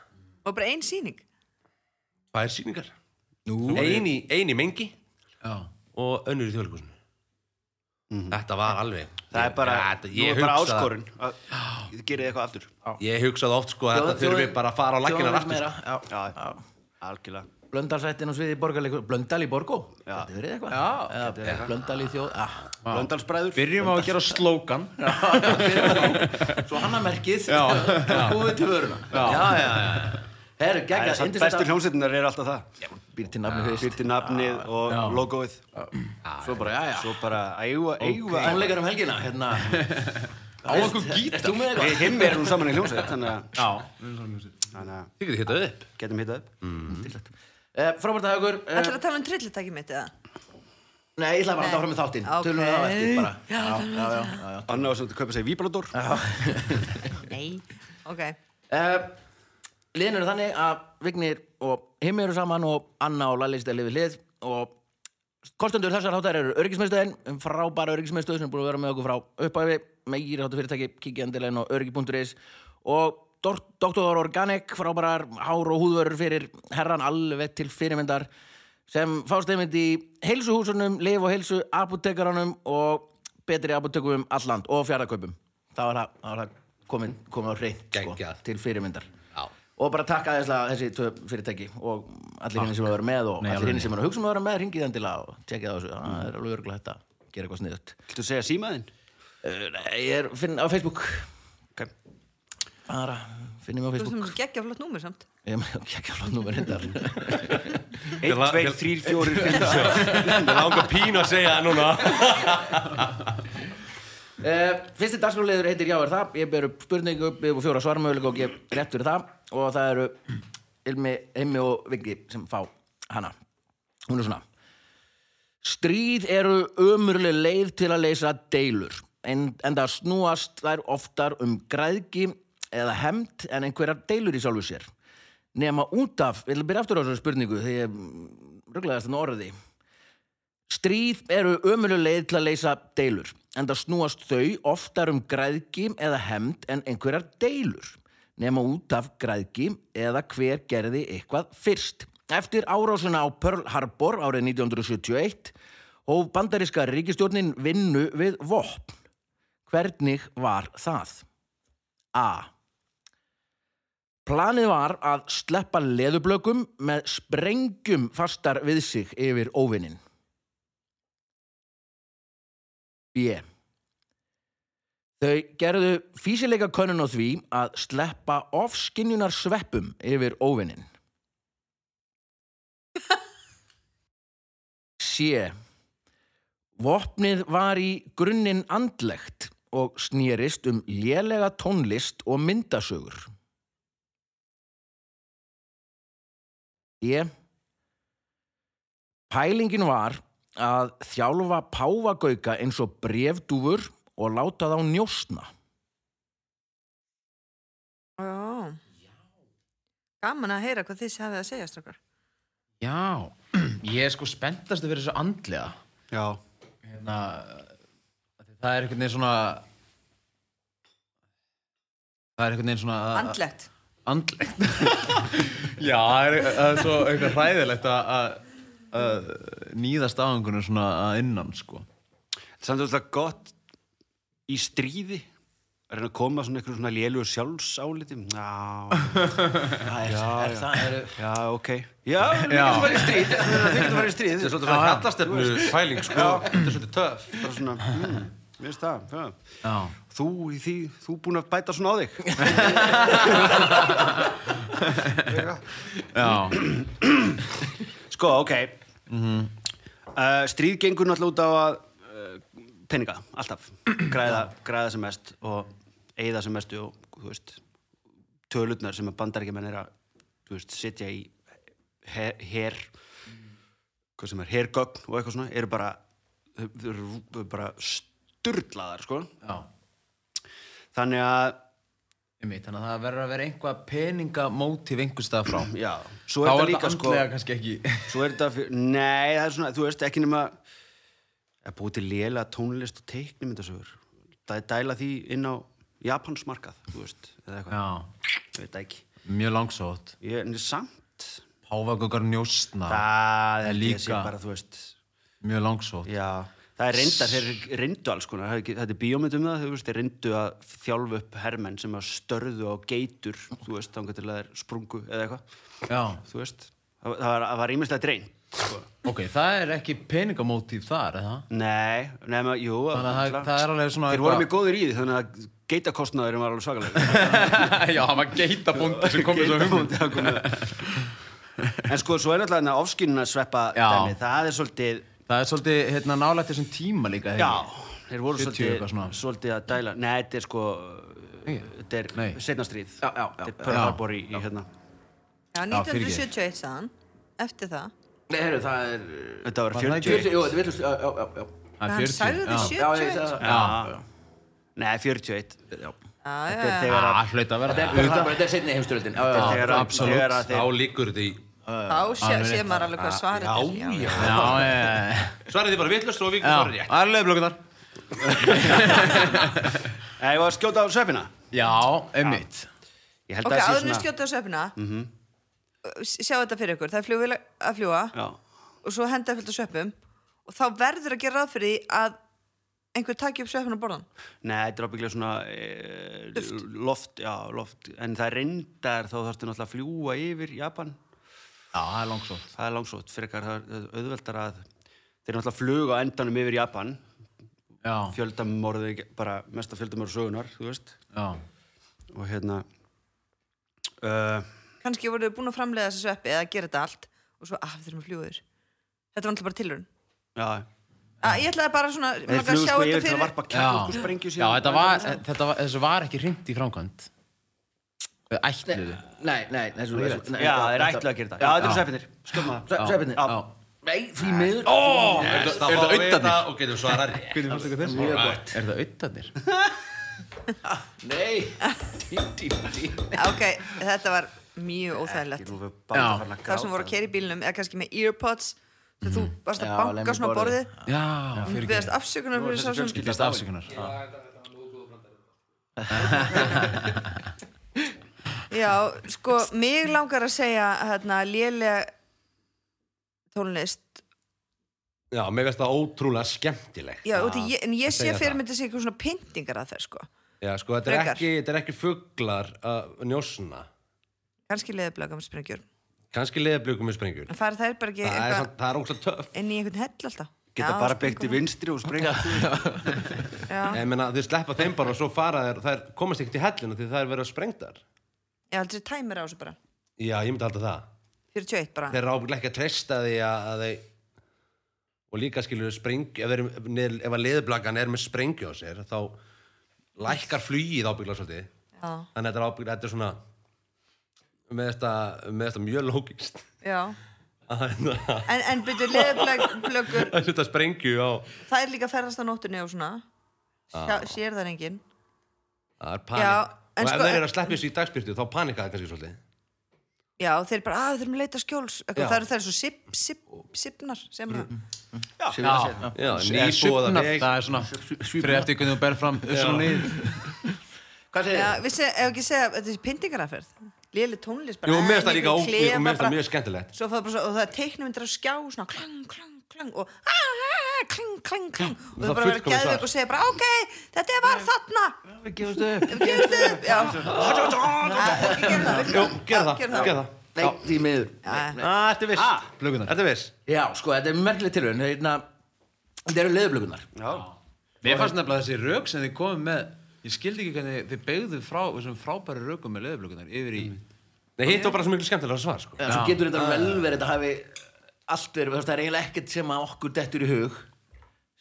[SPEAKER 2] Var bara ein síning?
[SPEAKER 3] Hvað er sýningar?
[SPEAKER 1] Nú
[SPEAKER 3] Ein í- ein í mengi
[SPEAKER 5] Já,
[SPEAKER 3] og önnur í þjóðleikusinu
[SPEAKER 1] Mhm.
[SPEAKER 3] Þetta var alveg
[SPEAKER 4] Það er bara,
[SPEAKER 3] Ja, þetta,
[SPEAKER 4] nú
[SPEAKER 3] ég
[SPEAKER 4] er bara
[SPEAKER 3] hugsa-
[SPEAKER 4] áskorun. að- Þið gerir eitthvað aftur.
[SPEAKER 3] Ég hugsaði oft sko að þetta
[SPEAKER 1] Þjóðin-
[SPEAKER 3] þurfi bara að fara á lakkinar
[SPEAKER 1] Þjóðin
[SPEAKER 3] aftur sko.
[SPEAKER 1] meira, Já,
[SPEAKER 4] Já.
[SPEAKER 1] já
[SPEAKER 4] Æ, algjörlega
[SPEAKER 1] Blöndalsættin á sviði borgarleikur Blöndal í borgo? Þetta verið eitthvað
[SPEAKER 5] Já.
[SPEAKER 1] Eða Blöndal í þjóð ah.
[SPEAKER 4] Blöndalsbræður
[SPEAKER 5] Byrjum á að gera slókan
[SPEAKER 1] Svo hannamerkið Búið til vöruna Já, já, já Herru,
[SPEAKER 4] Það
[SPEAKER 1] gegga,
[SPEAKER 4] er samt Bestu hljómsveitinnar er alltaf það
[SPEAKER 1] Býr til nafni fyrst
[SPEAKER 4] Býrti nafnið og logoið
[SPEAKER 1] Svo bara, já, já
[SPEAKER 4] Svo bara ægva, ægva
[SPEAKER 1] Tónleikar um helgina, hérna Á okkur gítar Þú með
[SPEAKER 4] Við
[SPEAKER 1] eitthvað?
[SPEAKER 4] hinn erum nú saman í hljómsveit Þannig
[SPEAKER 5] Já,
[SPEAKER 4] að- þannig að
[SPEAKER 3] Þið getið hittað upp.
[SPEAKER 4] getum hittað upp
[SPEAKER 1] Eh, Frábært að okkur eh,
[SPEAKER 2] Ætlar að tala um trillutæki mitt eða?
[SPEAKER 1] Nei, ég ætla bara að halda áfram með þáttinn
[SPEAKER 2] Ok.
[SPEAKER 1] Tölum við það á eftir bara Já, já, já, já, já
[SPEAKER 4] Anna var sem þetta kaupa sig víblador
[SPEAKER 2] Nei Ok
[SPEAKER 1] Uh, liðin eru þannig að Vignir og Himmi eru saman og Anna og Lalli stæli við lið og kostendur þessar hátar eru öryggismiðstöðin um frábæra öryggismiðstöð sem er búin að vera með okkur frá uppæfi meiri hátu fyrirtæki, kikið endilega inn á öryggi.is og Dor- Dr. Organic frábærar hár og húðvörur fyrir herran alveg til fyrirmyndar sem fást einmitt í heilsuhúsunum, lif og heilsu apotekaranum og betri apotekum um alland og fjárðaköpum þá er það, þá er það komin, komin á hreint sko,
[SPEAKER 3] Geggjað.
[SPEAKER 1] til fyrirmyndar
[SPEAKER 3] Já.
[SPEAKER 1] og bara takk aðeins að þessi tvö fyrirtæki og allir hinn sem að vera með og allir hinn sem eru að hugsa um að vera með ringið endilega og tjekkið á þessu, það er alveg örgulega hægt að gera eitthvað sniðut
[SPEAKER 4] Viltu segja símaðinn?
[SPEAKER 1] ég er finn á Facebook
[SPEAKER 4] Ok.
[SPEAKER 1] bara finnum mig á
[SPEAKER 2] Þú
[SPEAKER 1] Facebook
[SPEAKER 2] sem geggja flott númur samt
[SPEAKER 1] ég er ekki ekki flott númer hendar
[SPEAKER 4] 1, 2, 3, 4, 5
[SPEAKER 3] Ég langar pínu að segja það núna.
[SPEAKER 1] Uh, fyrsti dagskráliður heitir Já er það Ég ber upp spurningu upp og fjóra svarmöðuleika og gef rétt fyrir það og það eru Ilmi, Heimi og Viggi sem fá hana Hún er svona Stríð eru ömurleg leið til að leysa deilur en, en það snúast þær oftar um græðgi eða hemmt en einhverjar deilur í sjálfu sér nema út af, ég vil byrja aftur á þessu spurningu því ég rugglaðast þannig orði Stríð eru ömuleg leið til að leysa deilur, en það snúast þau oftar um græðgi eða hemmt en einhverjar deilur, nema út af græðgi eða hver gerði eitthvað fyrst. Eftir árásuna á Pearl Harbor árið 1971 hóf bandaríska ríkistjórnin vinnu við vopn. Hvernig var það? A. Planið var að sleppa leðublökum með sprengjum fastar við sig yfir óvinnin. B. Þau gerðu físileika könnun á því að sleppa ofskinjunar sveppum yfir óvinnin. C. Vopnið var í grunninn andlegt og snýrist um lélega tónlist og myndasögur. D. Pælingin var að þjálfa páfagauka eins og brefdúfur og láta þá njósna.
[SPEAKER 2] Já Gaman að heyra hvað þið hafið að segja strákar
[SPEAKER 5] já Ég er sko spenntastu fyrir þessu andlega
[SPEAKER 4] Já
[SPEAKER 5] hérna, af því það er einhvern veginn svona það er einhvern veginn svona
[SPEAKER 2] Andlegt
[SPEAKER 5] andlegt já, það er, það er svo eitthvað hræðilegt að, að, að nýðast á einhvern svona að innan sko.
[SPEAKER 4] Samt er þetta gott í stríði að reyna að koma svona einhverjum svona lélugur sjálfsálitum Já,
[SPEAKER 1] Það er, er, það eru...
[SPEAKER 4] já, ok Já, þau
[SPEAKER 5] já,
[SPEAKER 4] getur verið í stríð
[SPEAKER 3] Þetta er svolítið svona kallastefnu fæling, sko. Þetta er svolítið töff.
[SPEAKER 4] Bara svona, mm, veist það já.
[SPEAKER 5] já.
[SPEAKER 4] Þú í því, þú búin að bæta svona á þig
[SPEAKER 5] já.
[SPEAKER 4] Sko, ok Mm-hmm. uh, Stríð gengur náttúrulega út á að uh, peninga, alltaf græða, græða sem mest og eigða sem mestu og þú veist tölutnar sem að bandaríkjumenn er að þú veist, setja í her, her hvað sem er, hergögn og eitthvað svona eru bara, þau eru bara styrlaðar, sko
[SPEAKER 5] já.
[SPEAKER 4] þannig að,
[SPEAKER 5] Einmitt, þannig að það verður að vera einhvað peningamótíf einhver stað frá
[SPEAKER 4] já,
[SPEAKER 5] þá
[SPEAKER 4] svo
[SPEAKER 5] er
[SPEAKER 4] er
[SPEAKER 5] það
[SPEAKER 4] þetta líka, sko
[SPEAKER 5] andlega kannski ekki
[SPEAKER 4] Svo er þetta fyrir, nei, það er svona, þú veist, ekki nema að búið til lélega tónlist og teiknumyndasögur. Það er dæla því inn á Japansmarkað, þú veist, eða eitthvað,
[SPEAKER 5] já,
[SPEAKER 4] ég veit það ekki.
[SPEAKER 5] mjög langsótt
[SPEAKER 4] Ég er samt,
[SPEAKER 5] páfagökar njóstna
[SPEAKER 4] það er
[SPEAKER 5] líka.
[SPEAKER 4] líka, sé bara, þú veist,
[SPEAKER 5] mjög langsótt
[SPEAKER 4] já, það er reyndar, þeir reyndu alls konar, það er ekki- þetta er bíómynd um það, þú veist, þeir reyndu að þjálfa upp hermenn sem að störðu á geitur, þú veist, þangar til að þeir sprungu eða eitthvað,
[SPEAKER 5] já,
[SPEAKER 4] þú veist, það það, það var- það var ímestlega drein
[SPEAKER 5] Ok, það er ekki peningamótíf þar, eða?
[SPEAKER 4] Nei, nema, jú
[SPEAKER 5] Þannig að það- það er alveg svona
[SPEAKER 4] Þeir
[SPEAKER 5] eitthvað-
[SPEAKER 4] voru mjög góðir í því, þannig að geitakostnaðurinn var alveg svakalega
[SPEAKER 5] Já, hann var geitabóndi sem kom með svo hugmynd.
[SPEAKER 4] Geitabóndi, það kom með- En sko, svo er náttúrulega þarna ofskynina sveppa
[SPEAKER 5] Já.
[SPEAKER 4] dæmi, það er svolítið
[SPEAKER 5] Það er svolítið hérna, nálægt þessum tíma líka. hef ég.
[SPEAKER 4] Já, þeir voru
[SPEAKER 5] 70 eitthvað
[SPEAKER 4] svolítið,
[SPEAKER 5] svona.
[SPEAKER 4] svolítið að dæla Nei, þetta er sko Þetta er
[SPEAKER 5] Nei.
[SPEAKER 4] setna stríð
[SPEAKER 1] Já, já, já.
[SPEAKER 4] Þetta er Pearl
[SPEAKER 5] Já.
[SPEAKER 4] Harbor í, í hérna
[SPEAKER 2] Já,
[SPEAKER 5] fyrirgefðu.
[SPEAKER 2] 1971 sagðan Eftir það
[SPEAKER 1] Nei, heyrðu, það er...
[SPEAKER 4] Þetta var
[SPEAKER 5] Var það
[SPEAKER 4] 40
[SPEAKER 5] ekki-
[SPEAKER 1] 40, jú, þetta villust, já, já, já, já.
[SPEAKER 5] Það
[SPEAKER 2] Hann
[SPEAKER 5] er 40,
[SPEAKER 2] sagði
[SPEAKER 5] já.
[SPEAKER 2] þið
[SPEAKER 1] Já, ég segi
[SPEAKER 2] 71
[SPEAKER 1] það.
[SPEAKER 4] Já. Nei, 41
[SPEAKER 1] Já.
[SPEAKER 2] Já, já,
[SPEAKER 4] Þetta er
[SPEAKER 2] já.
[SPEAKER 4] þegar að
[SPEAKER 5] Ah, hlaut að vera
[SPEAKER 1] Þetta er bara, það- þetta er setni heimstyrjöldin. Já, já, já.
[SPEAKER 4] þegar að-
[SPEAKER 5] absolutt.
[SPEAKER 4] þegar að
[SPEAKER 3] Þá
[SPEAKER 4] þeir
[SPEAKER 3] líkur þetta í
[SPEAKER 2] Þá sé, sé maður alveg
[SPEAKER 4] Ah,
[SPEAKER 2] hvað svarið er,
[SPEAKER 3] Já, já
[SPEAKER 5] Já, já,
[SPEAKER 3] Svarið þið bara vittlust og við
[SPEAKER 5] já.
[SPEAKER 3] svarið rétt
[SPEAKER 5] Það er lögblokkunar.
[SPEAKER 4] Nei, ég var að skjóta á sveppina
[SPEAKER 5] Já, einmitt.
[SPEAKER 4] Ég held
[SPEAKER 2] Ok,
[SPEAKER 4] að það sé
[SPEAKER 2] áður en við
[SPEAKER 4] svona Mhm.
[SPEAKER 2] skjóta á söpuna Sjá þetta fyrir ykkur, það er flugvél að fljúa
[SPEAKER 4] Já,
[SPEAKER 2] og svo henda fullt á söpum og þá verður að gera ráð fyrir því að einhver taki upp söpuna og borðan
[SPEAKER 4] nei, þetta er ábygglega svona e, loft, já, loft en það er reyndar, þá þarfstu náttúrulega að fljúa yfir Japan,
[SPEAKER 5] Já, það er langsótt.
[SPEAKER 4] það er langsótt frekar það er auðveldar að þeir náttúrulega að fluga á endanum yfir Japan
[SPEAKER 5] Já,
[SPEAKER 4] fjöldamorði, bara mesta fjöldamorð sögunar, þú veist
[SPEAKER 5] já.
[SPEAKER 4] og hérna uh,
[SPEAKER 2] kannski voru þau búin að framlega þessi sveppi eða gera þetta allt og svo, að við þurfum að fljúa yfir þetta var alltaf bara tilurinn
[SPEAKER 4] já,
[SPEAKER 2] að, ég ætlaði bara svona, mig
[SPEAKER 4] þeir
[SPEAKER 2] langar að sjá
[SPEAKER 4] flugu sko
[SPEAKER 2] þetta
[SPEAKER 4] yfir til
[SPEAKER 2] fyrir
[SPEAKER 4] að varpa
[SPEAKER 5] Já,
[SPEAKER 4] kjarnorkusprengju
[SPEAKER 5] já þetta var, þetta var, þessu var ekki hringt í framkvæmt. Þau Ætluðu.
[SPEAKER 1] Nei, nei, þessu... þessu- nei,
[SPEAKER 4] Já, þeir
[SPEAKER 1] þetta-
[SPEAKER 4] ætla að gera þetta Já, þetta eru sveppinnir, skoðum það
[SPEAKER 1] Sve- Svepinni.
[SPEAKER 4] Já.
[SPEAKER 1] Nei, því miður. Ó!
[SPEAKER 3] Er
[SPEAKER 5] er
[SPEAKER 3] þetta
[SPEAKER 5] þetta
[SPEAKER 3] auðvitað
[SPEAKER 5] auddarnir?
[SPEAKER 3] Og getum svarað rétt
[SPEAKER 1] Mjög gott.
[SPEAKER 5] Er það auðvitaðnir?
[SPEAKER 1] Nei. Dí, dí, dí.
[SPEAKER 2] ok, þetta var mjög óþægilegt
[SPEAKER 4] Já,
[SPEAKER 2] það sem voru að kera í bílnum eða kannski með earpods þegar þú
[SPEAKER 4] Mhm.
[SPEAKER 2] varst að
[SPEAKER 1] Já, lemja
[SPEAKER 2] banka svona á
[SPEAKER 1] borðið.
[SPEAKER 2] borðið
[SPEAKER 5] Já,
[SPEAKER 2] og
[SPEAKER 5] fyrir
[SPEAKER 2] beðast afsökunar fyrir sá sem
[SPEAKER 5] Gildast afsökunar.
[SPEAKER 2] Já, sko, mig langar að segja hérna, lélega tónlist
[SPEAKER 3] Já, mér veist það ótrúlega skemmtilegt
[SPEAKER 2] Já, ah, ég, en ég sé
[SPEAKER 3] segja
[SPEAKER 2] fyrir
[SPEAKER 3] það.
[SPEAKER 2] mig þessi eitthvað svona pyntingar að það, sko
[SPEAKER 3] Já, sko, þetta er
[SPEAKER 2] Frekar.
[SPEAKER 3] ekki, þetta er ekki fuglar að njósna
[SPEAKER 2] kannski leðablöka með sprengjur
[SPEAKER 3] Kanski leðablökum með sprengjur
[SPEAKER 2] um en fara þær bara ekki
[SPEAKER 3] Það er,
[SPEAKER 2] eitthvað
[SPEAKER 3] samt- það er ótrúlega töff
[SPEAKER 2] inn í einhvern hell alltaf
[SPEAKER 4] Geta
[SPEAKER 2] Já,
[SPEAKER 4] bara
[SPEAKER 2] sko,
[SPEAKER 4] byggt í vinstri og sprengt
[SPEAKER 2] Já,
[SPEAKER 3] Ég meina, þeir sleppa þeim bara og svo fara þeir Það komast ekkert í hellina því það er verið að sprengdar
[SPEAKER 2] ég held sér tæmir á þessu bara
[SPEAKER 3] Já, ég myndi alltaf það
[SPEAKER 2] 41 bara
[SPEAKER 3] þeir eru ábyggilega ekki að treysta því að, að þeir og líka skilur spreng ef, þeir, neð- ef að leðblagan er með sprengju á sér þá lækkar flugið ábyggilega svolítið
[SPEAKER 2] Já,
[SPEAKER 3] þannig að þetta er ábyggilega, þetta er svona með þetta, með þetta mjög lókist
[SPEAKER 2] já
[SPEAKER 3] að hérna.
[SPEAKER 2] En, en byrju, leðablökur
[SPEAKER 3] setja sprengju á
[SPEAKER 2] það er líka að ferðast á nóttunni og svona
[SPEAKER 3] Ah.
[SPEAKER 2] Sjá, sér það enginn
[SPEAKER 3] það er
[SPEAKER 2] Já,
[SPEAKER 3] panik
[SPEAKER 2] en
[SPEAKER 3] og ef
[SPEAKER 2] sko-
[SPEAKER 3] þeir eru að sleppa þessu í dagspyrtu þá panika það kannski svolítið
[SPEAKER 2] Já, þeir bara, að við þurfum að leita skjóls eitthvað,
[SPEAKER 3] Já. Mm,
[SPEAKER 2] það eru þær svo sip, sip, sipnar sem það
[SPEAKER 5] Já,
[SPEAKER 3] Já,
[SPEAKER 5] Eða
[SPEAKER 3] nýbúða
[SPEAKER 5] svipnað,
[SPEAKER 3] veg
[SPEAKER 5] það er svona fyrir eftir hvernig þú ber fram svona nýð
[SPEAKER 1] Hvað segir
[SPEAKER 2] Já,
[SPEAKER 3] Eh.
[SPEAKER 1] þið?
[SPEAKER 2] vissi, ef ekki segja, þetta er pyntingaraferð Léli tónlist bara
[SPEAKER 3] Jú,
[SPEAKER 2] eh,
[SPEAKER 3] mér finnst
[SPEAKER 2] einhver
[SPEAKER 3] það líka ókli
[SPEAKER 2] klefa
[SPEAKER 3] og mér finnst
[SPEAKER 2] bara-
[SPEAKER 3] það mjög skemmtilegt
[SPEAKER 2] svo fór bara svo, og það er teiknumyndir á skjá svona klang, klang, klang og ah, ah, klang, klang, klang og
[SPEAKER 3] það
[SPEAKER 2] það bara verið
[SPEAKER 3] fullkomið
[SPEAKER 2] geðvik
[SPEAKER 3] svar.
[SPEAKER 2] og segja bara ok, þetta er bara þarna
[SPEAKER 1] Við gefumst upp.
[SPEAKER 2] Ef við gefumst upp, já Ah, ekki gera það.
[SPEAKER 3] Jú, gera
[SPEAKER 2] Já,
[SPEAKER 3] það, gera það
[SPEAKER 1] Nei, því miður.
[SPEAKER 2] Já, já.
[SPEAKER 3] Ah, ertu viss?
[SPEAKER 4] Ah.
[SPEAKER 5] Blökunar.
[SPEAKER 3] Ertu viss?
[SPEAKER 1] Já, sko, þetta er merkileg tilhörn. Þetta eru leðublökunar.
[SPEAKER 5] Mér fannst nefnilega þessi rauk sem þið komum með ég skildi ekki hvernig þið beigðu frá þessum frábæri raukum með leðublökunar yfir í
[SPEAKER 3] Nei, hitt var bara svo miklu skemmtilega svar, sko.
[SPEAKER 1] Já, svo
[SPEAKER 5] Já.
[SPEAKER 1] getur þetta vel verið að hafi allt verið, þú veist, það er eiginlega ekkert sem að okkur dettur í hug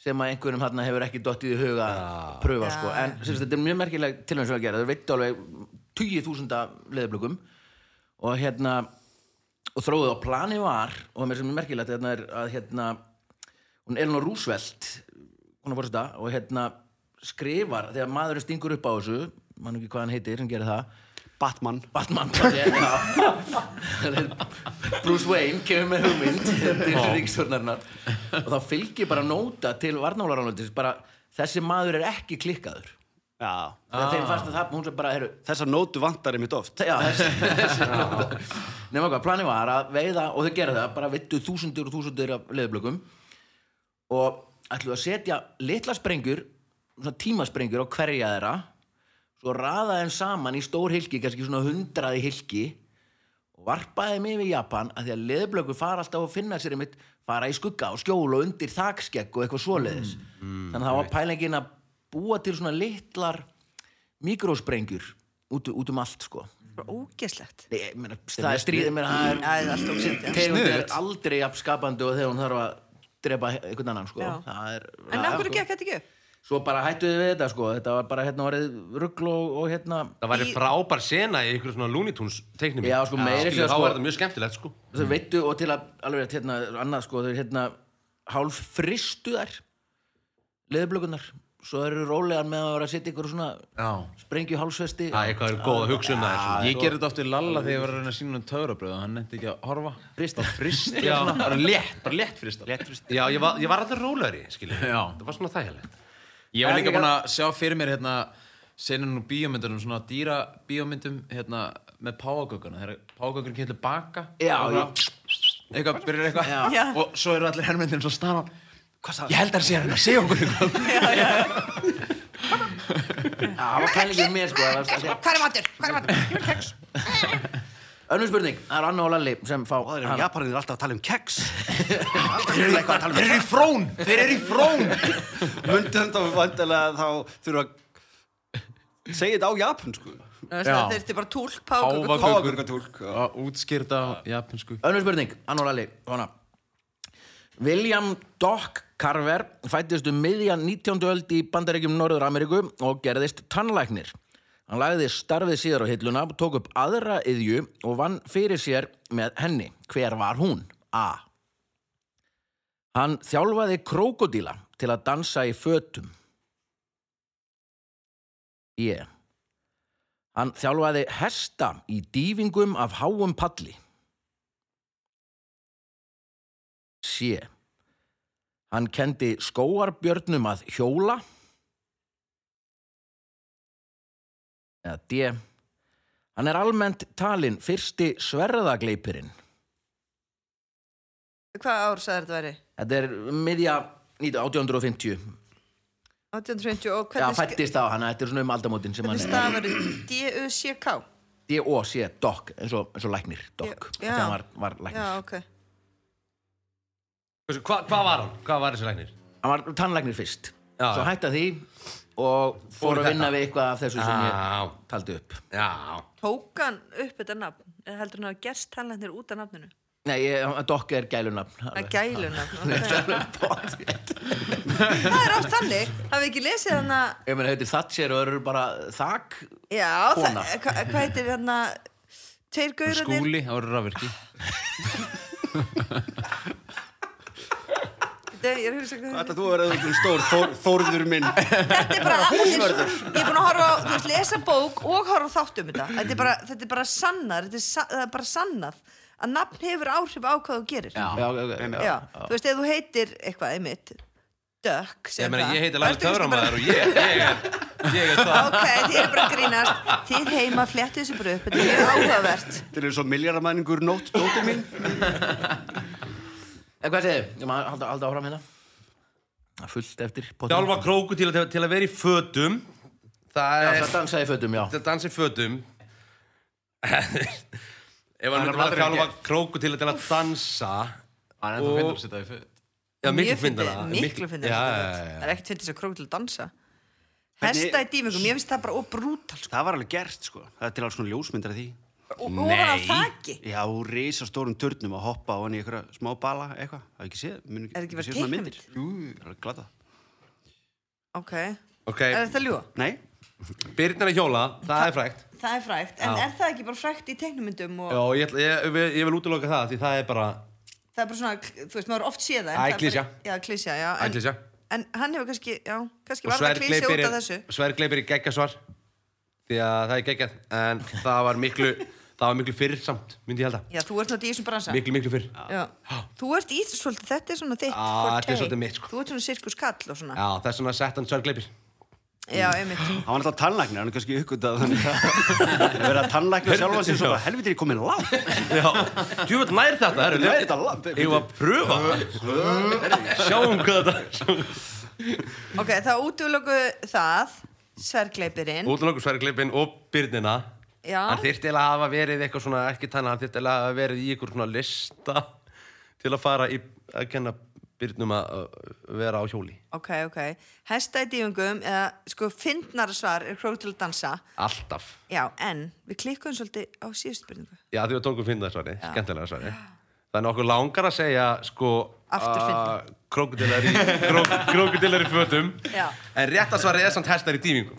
[SPEAKER 1] sem að einhverjum þarna hefur ekki dottið í hug að pröfa, sko, en syns, þetta er mjög merkileg tilhæm sem að gera, þau veitti alveg 20.000 leðublökum og hérna og þróðu og plani var og það er sem er merkilegt hérna er að hérna hún Elinor Roosevelt hún er fórsta og hérna skrifar þegar maðurinn stingur upp á þessu mann ekki hvað hann heitir sem gerir það
[SPEAKER 4] Batman
[SPEAKER 1] Batman Bruce Wayne kemur með hugmynd til ríkstjórnarinnar og þá fylgir bara nóta til varnálaránlandis bara þessi maður er ekki klikkaður
[SPEAKER 4] Já,
[SPEAKER 1] þegar þeim fannst að það, hún sem bara heru,
[SPEAKER 4] þessar nótu vantar einmitt oft
[SPEAKER 1] já, þessi, þessi nema hvað, planið var að veiða og þau gera það, bara vittu þúsundir og þúsundir af leðublökum og ætluðu að setja litla sprengjur svona tímasprengjur á hverja þeirra svo raða þeim saman í stór hilki kannski svona hundraði hilki og varpaði mig við Japan að því að leðblöku fara alltaf að finna sér einmitt fara í skugga og skjól og undir þakskegg og eitthvað svoleiðis þannig að það var pælingin að búa til svona litlar mikrósprengjur út, út um allt sko
[SPEAKER 2] Bara ógeðslegt
[SPEAKER 1] Nei, ég meina, það er stríðið mér það er
[SPEAKER 2] Það er allt ógeðslegt já.
[SPEAKER 1] tegund er aldrei jafn skapandi og þegar hún þarf að drepa einhvern annan sko.
[SPEAKER 2] Já.
[SPEAKER 1] Það er,
[SPEAKER 2] En af
[SPEAKER 1] það-
[SPEAKER 2] hverju
[SPEAKER 3] sko.
[SPEAKER 2] gekk þetta ekki upp?
[SPEAKER 1] svo bara hættuði við þetta sko. þetta var bara hérna orðið ruggl og, og hérna
[SPEAKER 3] Það væri
[SPEAKER 2] Í-
[SPEAKER 3] frábær sena í ykkur svona Looney Tunes teiknum
[SPEAKER 1] Já, sko, meira
[SPEAKER 3] Skilur,
[SPEAKER 1] sér,
[SPEAKER 3] þá
[SPEAKER 1] sko-
[SPEAKER 3] var þetta mjög skemmtilegt, sko
[SPEAKER 1] þau veittu og til að alveg rétt, hérna, annað sko, þau hérna hálf fristu þær leðublökunar svo þær eru rólegar með að vera að setja ykkur svona
[SPEAKER 5] Já.
[SPEAKER 1] sprengju hálsvesti
[SPEAKER 3] Það er eitthvað er góð að hugsa um það
[SPEAKER 5] Ég gerði þetta oft við Lalla þegar ég var að reyna að sína um töfrabröð og hann nefndi ekki að horfa
[SPEAKER 1] Frista.
[SPEAKER 5] Bara frista,
[SPEAKER 3] Já.
[SPEAKER 5] svona, bara létt, bara létt frista
[SPEAKER 4] Léttvist.
[SPEAKER 3] Já, ég var, ég var alltaf rólegri, skilur
[SPEAKER 5] Já.
[SPEAKER 3] Það var svona þægilegt
[SPEAKER 5] Ég var
[SPEAKER 1] En
[SPEAKER 5] líka
[SPEAKER 1] líka-
[SPEAKER 5] búinn að sjá fyrir mér hérna senan úr bíómyndunum, svona dýra bíómyndum hérna með páagögguna þegar páagöggun kemur til baka
[SPEAKER 1] Já,
[SPEAKER 5] og bara- eitthvað, byrjar
[SPEAKER 2] Já.
[SPEAKER 5] eitthvað og svo eru allir herrmyndin svo staðan
[SPEAKER 4] Hvað sagði
[SPEAKER 5] Ég held að hann sé hérna, segja okkur eitthvað
[SPEAKER 1] Já, það var pælingið mér sko það var-
[SPEAKER 2] Hvað er matur? Hvað er matur? Ég vil kex.
[SPEAKER 1] önnur spurning, það er Anna og Lalli sem fá
[SPEAKER 4] Það er Japanir alltaf að tala um keks
[SPEAKER 5] Þeir eru eitthvað að tala um Þeir eru í frón, þeir eru í frón
[SPEAKER 4] Mundum þá vandilega þá þurfa að segja þetta á Japan sko
[SPEAKER 2] Það þurfti bara túlk, pákökur,
[SPEAKER 5] Páfagaukur.
[SPEAKER 4] Páfagaukartúlk, já.
[SPEAKER 5] Að Útskýrta á japansku
[SPEAKER 1] Önnur spurning, Ann og Lalli, svona. William Dock Carver fættist um miðjan 19. öld í bandaríkjum Norður Ameríku og gerðist tannlæknir. Hann lagði starfið síðar á hilluna, tók upp aðra yðju og vann fyrir sér með henni. Hver var hún? A. Hann þjálfaði krókodíla til að dansa í fötum. B. Hann þjálfaði hesta í dýfingum af háum palli. C. Hann kendi skóarbjörnum að hjóla eða D. Hann er almennt talinn fyrsti sverðagleipirinn.
[SPEAKER 2] Hvað ár sagði þetta væri?
[SPEAKER 1] Þetta er miðja 1850.
[SPEAKER 2] 1820 og
[SPEAKER 1] Já,
[SPEAKER 2] hvernig sk-
[SPEAKER 1] fættist á hann, þetta er svona um aldamótin sem hann
[SPEAKER 2] hvernig
[SPEAKER 1] er.
[SPEAKER 2] stafar D-U-C-K?
[SPEAKER 1] D.O.C. Doc, eins og, eins og læknir, Doc.
[SPEAKER 2] Já.
[SPEAKER 1] Þegar hann var, var læknir.
[SPEAKER 2] Já, ok.
[SPEAKER 3] Hversu, hva, Hvað var hann? Hvað var þessi læknir?
[SPEAKER 1] Hann var tannlæknir fyrst.
[SPEAKER 3] Já,
[SPEAKER 1] Svo
[SPEAKER 3] já.
[SPEAKER 1] hætti hann því og
[SPEAKER 3] Fór
[SPEAKER 1] fór
[SPEAKER 3] í
[SPEAKER 1] að vinna
[SPEAKER 3] þetta. Ah.
[SPEAKER 1] við eitthvað af þessu sem
[SPEAKER 3] Já,
[SPEAKER 1] ég taldi upp.
[SPEAKER 3] já
[SPEAKER 2] Tók hann upp þetta nafn? Eða heldur hann að gerst tannlæknir út af nafninu?
[SPEAKER 1] Nei, ég, Doc er gælunafn.
[SPEAKER 2] Að
[SPEAKER 1] alveg.
[SPEAKER 2] gælu nafn? ok.
[SPEAKER 1] Ég
[SPEAKER 2] Það er ást þannig. Hafið ekki lesið hann að...
[SPEAKER 1] meina, heitir Thatcher og eru bara þak
[SPEAKER 2] Já, það,
[SPEAKER 1] Kona.
[SPEAKER 2] hva, hvað heitir hann að... Tveir gaurarnir...
[SPEAKER 5] Skúli, það voru rafvirki
[SPEAKER 2] Nei, Ég er að hugsa hvað
[SPEAKER 4] Þetta þú verður eitthvað stór Þór, Þórður minn
[SPEAKER 2] þetta er bara húsvörður ég er búin að horfa á, þú veist, lesa bók og horfa á þátt um þetta þetta er bara, þetta er bara sannar þetta er, sa, það er bara sannað að nafn hefur áhrif á hvað þú gerir já,
[SPEAKER 1] Já, ok, ok.
[SPEAKER 2] þú veist, ef þú heitir eitthvað einmitt Dökk
[SPEAKER 3] Ég meina, ég heiti Lars Töframæður og ég, ég er, ég er það
[SPEAKER 2] ok, þið eru bara að grínast þið heima fléttið þessu bara upp þetta er mjög áhugavert
[SPEAKER 4] Þetta er svo miljardamæningur nótt, dóttir mín
[SPEAKER 1] En hvað segir þið? Ég maður halda, halda áfram hérna Það er fullt eftir pottinum.
[SPEAKER 3] Þjálfa króku til, að- til að vera í fötum Það
[SPEAKER 1] Já,
[SPEAKER 3] er
[SPEAKER 1] Það dansaði í fötum, já
[SPEAKER 3] til að dansa í fötum Ef hann myndi bara
[SPEAKER 5] aldrei
[SPEAKER 3] þjálfa
[SPEAKER 5] gert.
[SPEAKER 3] króku til að, til að dansa
[SPEAKER 5] Það er
[SPEAKER 3] Og-
[SPEAKER 5] ennþá finnur að setja í föt
[SPEAKER 3] Já, miklu
[SPEAKER 2] Mjög fyndið,
[SPEAKER 3] fyndara
[SPEAKER 2] miklu fyndið
[SPEAKER 3] Já,
[SPEAKER 2] þetta
[SPEAKER 3] já,
[SPEAKER 2] veit.
[SPEAKER 3] já,
[SPEAKER 2] það er ekkert fyndið sér krók til að dansa
[SPEAKER 4] Hvernig-
[SPEAKER 2] hesta í dýfingum, ég finnst það bara óbrútal sko.
[SPEAKER 4] Það var alveg gert sko Það er til alls svona ljósmyndar af því
[SPEAKER 2] og ofan á
[SPEAKER 3] Nei.
[SPEAKER 2] þaki
[SPEAKER 4] Já, reysa stórum turnum að hoppa á hann í einhverja smá bala eitthvað Það er ekki séð Muni,
[SPEAKER 2] Er ekki verið teiknimynd?
[SPEAKER 4] Jú, það er alveg glata
[SPEAKER 2] ok,
[SPEAKER 3] Ok,
[SPEAKER 2] er þetta ljúa?
[SPEAKER 4] Nei,
[SPEAKER 3] Byrnir að hjóla, það er frægt
[SPEAKER 2] Það er frægt, en er það ekki bara frægt í teiknumyndum og
[SPEAKER 3] Já, ég, ætla- ég, ég, ég vil útiloka það því það er bara
[SPEAKER 2] það er bara svona, þú veist, maður oft séð það en
[SPEAKER 3] Æ,
[SPEAKER 2] það er bara-
[SPEAKER 3] klisja.
[SPEAKER 2] Já, klísja, já en,
[SPEAKER 3] ætlisja
[SPEAKER 2] en hann hefur kannski, já, kannski
[SPEAKER 3] Og
[SPEAKER 2] var það klísja
[SPEAKER 3] svergleipir
[SPEAKER 2] út af
[SPEAKER 3] er,
[SPEAKER 2] þessu
[SPEAKER 3] svergleipir er geggjasvar því að það er geggjað en það var miklu það var miklu fyrr samt, myndi ég held að
[SPEAKER 2] Já, þú ert náttúrulega í þessum bransa
[SPEAKER 3] miklu, miklu fyrr
[SPEAKER 2] Já. Þú ert í þessu svolítið, þetta er svona þitt
[SPEAKER 3] Já,
[SPEAKER 2] forte.
[SPEAKER 3] þetta er svolítið mitt, sko.
[SPEAKER 2] Þú ert svona sirkuskall og svona
[SPEAKER 3] Já, það er svona sett hann svergleipir
[SPEAKER 2] Já, einmitt
[SPEAKER 4] hann var alltaf tannlæknir, hann er kannski uppgötað þannig að að vera tannlæknir sjálfa sér svo bara helvitir ég komin langt
[SPEAKER 3] Djúvöld nær þetta, það
[SPEAKER 4] Það er þetta langt
[SPEAKER 3] Ég var að pröfa það. Sjáum hvað þetta
[SPEAKER 2] Ok, þá útlöku það, svergleipirinn
[SPEAKER 3] Útlunokkur svergleipin og byrnina
[SPEAKER 2] Já.
[SPEAKER 3] hann þyrfti eiginlega að hafa verið eitthvað svona ekki þannig, hann þyrfti eiginlega að hafa verið í ykkur svona lista til að fara í, að kenna byrnum að að vera á hjóli
[SPEAKER 2] ok, ok hesta í dýfingum eða sko fyndnara svar er krók til að dansa
[SPEAKER 3] alltaf,
[SPEAKER 2] já, en við klikkuðum svolítið á síðustu spurningu
[SPEAKER 3] já því að tókum finna svari skemmtilega svari þannig að okkur langar að segja sko
[SPEAKER 2] Aftur
[SPEAKER 3] að krókudillar í krók- krókudillar í fötum
[SPEAKER 2] Já.
[SPEAKER 3] en rétt að svari er samt hestar í dýfingum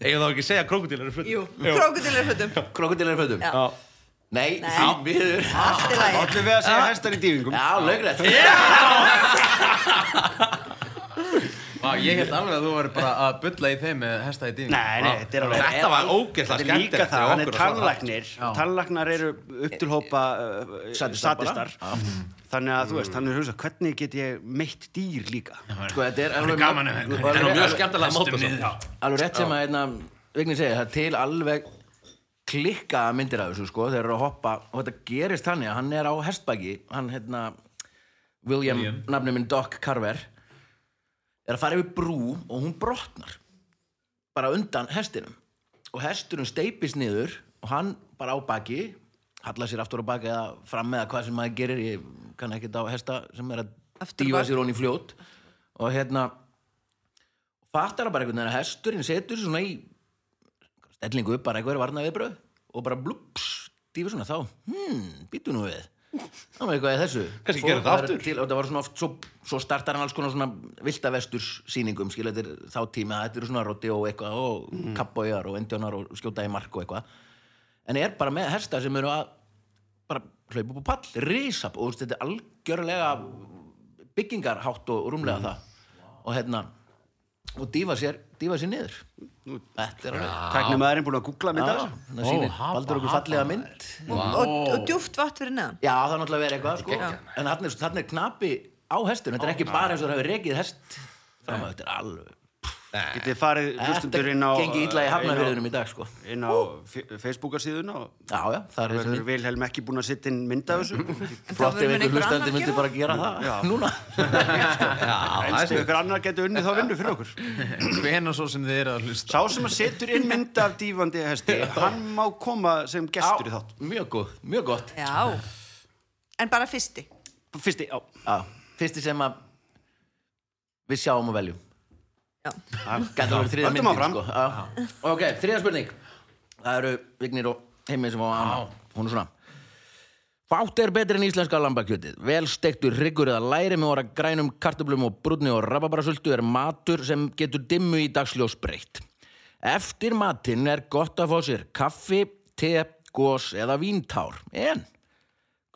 [SPEAKER 3] eigum þá ekki að segja krókudillar í fötum
[SPEAKER 2] jú, krókudilir hlutum
[SPEAKER 1] Krokodillar í fötum
[SPEAKER 2] Já.
[SPEAKER 1] Nei,
[SPEAKER 2] Nei.
[SPEAKER 1] því miður
[SPEAKER 2] allt í lagi
[SPEAKER 4] Allir við að segja hestar í dýfingum
[SPEAKER 1] Já, lögrætt
[SPEAKER 5] Vá, ég held alveg að þú væri bara að bulla í þeim með hesta í dýfing
[SPEAKER 4] Nei, nei, þetta er alveg
[SPEAKER 3] þetta var ógeðslega
[SPEAKER 4] Þetta er
[SPEAKER 3] skemmtilegt
[SPEAKER 4] líka það,
[SPEAKER 3] fyrir
[SPEAKER 4] hann er
[SPEAKER 3] okkur að svara.
[SPEAKER 4] tannlæknir
[SPEAKER 5] Já.
[SPEAKER 4] Tannlæknar eru upp til hópa uh, uh,
[SPEAKER 1] Sadistar bara.
[SPEAKER 4] sadistar Þannig að þú veist, hann er hugsa, hvernig get ég meitt dýr líka?
[SPEAKER 1] Sko, þetta er alveg
[SPEAKER 6] gaman að-
[SPEAKER 1] alveg-
[SPEAKER 3] þetta er nú mjög
[SPEAKER 1] alveg-
[SPEAKER 3] skemmtilega móta samt. Já.
[SPEAKER 1] Alveg rétt sem að einna Vigni segir, það er til alveg klikka myndir af þessu sko þeir eru að hoppa og þetta gerist þannig að hann er á hestbæki hann hérna William, William. nafnum minn Doc Carver er að fara yfir brú og hún brotnar bara undan hestinum og hesturinn steipist niður og hann bara á baki hallar sér aftur á baki eða fram eða hvað sem maður gerir ég kann ekki á hesta sem er að
[SPEAKER 2] Aftur á
[SPEAKER 1] dýfa
[SPEAKER 2] bak.
[SPEAKER 1] sér hon í fljót og hérna fattar það bara einhvern veginn að hesturinn setur sig svona í stellingu upp bara einhverju varna viðbröð og bara blúps, dýfur svona þá hmm, býtu nú við þá með eitthvað í þessu
[SPEAKER 3] Kannski
[SPEAKER 1] Fór
[SPEAKER 3] gerir það
[SPEAKER 1] þar
[SPEAKER 3] aftur.
[SPEAKER 1] til, og það var svona oft, svo, svo startar hann alls konar svona viltavesturs sýningum skilja þetta er þá tími að þetta eru svona roti og eitthvað og mm. kappbójar og endjónar og skjóta í mark og eitthvað en er bara með hesta sem eru að bara hlaupa upp á pall, risap og þú veist, þetta er algjörlega byggingarhátt og
[SPEAKER 3] Mm.
[SPEAKER 1] rúmlega það og hérna og dýfa sér, dýfa sér niður þetta er alveg
[SPEAKER 4] Tæknir maðurinn búin að googla mynda
[SPEAKER 1] Já,
[SPEAKER 4] þessu?
[SPEAKER 1] það sýnir
[SPEAKER 5] hafa,
[SPEAKER 1] Baldur okkur
[SPEAKER 5] hafa.
[SPEAKER 1] fallega mynd
[SPEAKER 2] og, og djúft vatn fyrir neðan
[SPEAKER 1] Já, það er náttúrulega verið eitthvað sko. En þannig er, þarna er knapi á hestun Þetta er ekki bara eins og það hefur rekið hest fram að þetta er alveg
[SPEAKER 4] Getið farið hlustundur inn á eh,
[SPEAKER 1] Þetta gengi ítla í
[SPEAKER 4] inn á-
[SPEAKER 1] hafnafyrðunum í dag sko.
[SPEAKER 4] Inn á Facebookarsíðun og
[SPEAKER 1] Já, já, það er
[SPEAKER 4] það
[SPEAKER 1] þessi
[SPEAKER 4] er
[SPEAKER 1] mynd
[SPEAKER 4] Vilhelm ekki búin að sitta inn mynda þessu
[SPEAKER 1] Flott ef einhver
[SPEAKER 2] mun einhver
[SPEAKER 1] hlustandi
[SPEAKER 2] annar
[SPEAKER 1] myndi
[SPEAKER 2] gera
[SPEAKER 1] bara gera það
[SPEAKER 4] Já.
[SPEAKER 1] Núna
[SPEAKER 3] Já, það er
[SPEAKER 4] Elstu
[SPEAKER 3] sniðugt.
[SPEAKER 4] ykkur annar getur unnið þá vinnu fyrir okkur
[SPEAKER 5] Hvena svo sem þið eru að hlusta
[SPEAKER 4] Sá sem að setur inn mynda af dýfandi hesti Hann má koma sem gestur í þátt
[SPEAKER 1] Mjög góð, mjög gott
[SPEAKER 2] já, en bara fyrsti
[SPEAKER 4] Fyrsti, já
[SPEAKER 1] Já, Fyrsti sem að við sjáum og veljum
[SPEAKER 2] já,
[SPEAKER 1] Gæti að vera þriða
[SPEAKER 4] Höldum
[SPEAKER 1] myndin
[SPEAKER 4] áfram.
[SPEAKER 1] sko. Já. Ok, þriða spurning Það eru Vignir og heimið sem á að Hún er svona Fátt er betri en íslenska lambakjötið. Vel stektur hryggur eða læri með orða grænum kartöblum og brúnni og rababarasultu er matur sem getur dimmu í dagsljós breytt. Eftir matinn er gott að fá sér kaffi, te, gos eða víntár. En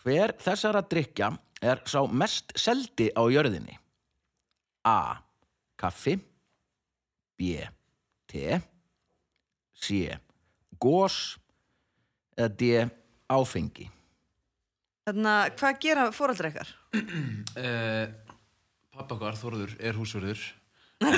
[SPEAKER 1] hver þessara drikja er sá mest seldi á jörðinni? A. Kaffi B. Te C. Gos eða D. Áfengi
[SPEAKER 2] þannig að hvað gera fóraldra ykkar?
[SPEAKER 5] uh, Pappa okkar, Þorður, er húsverður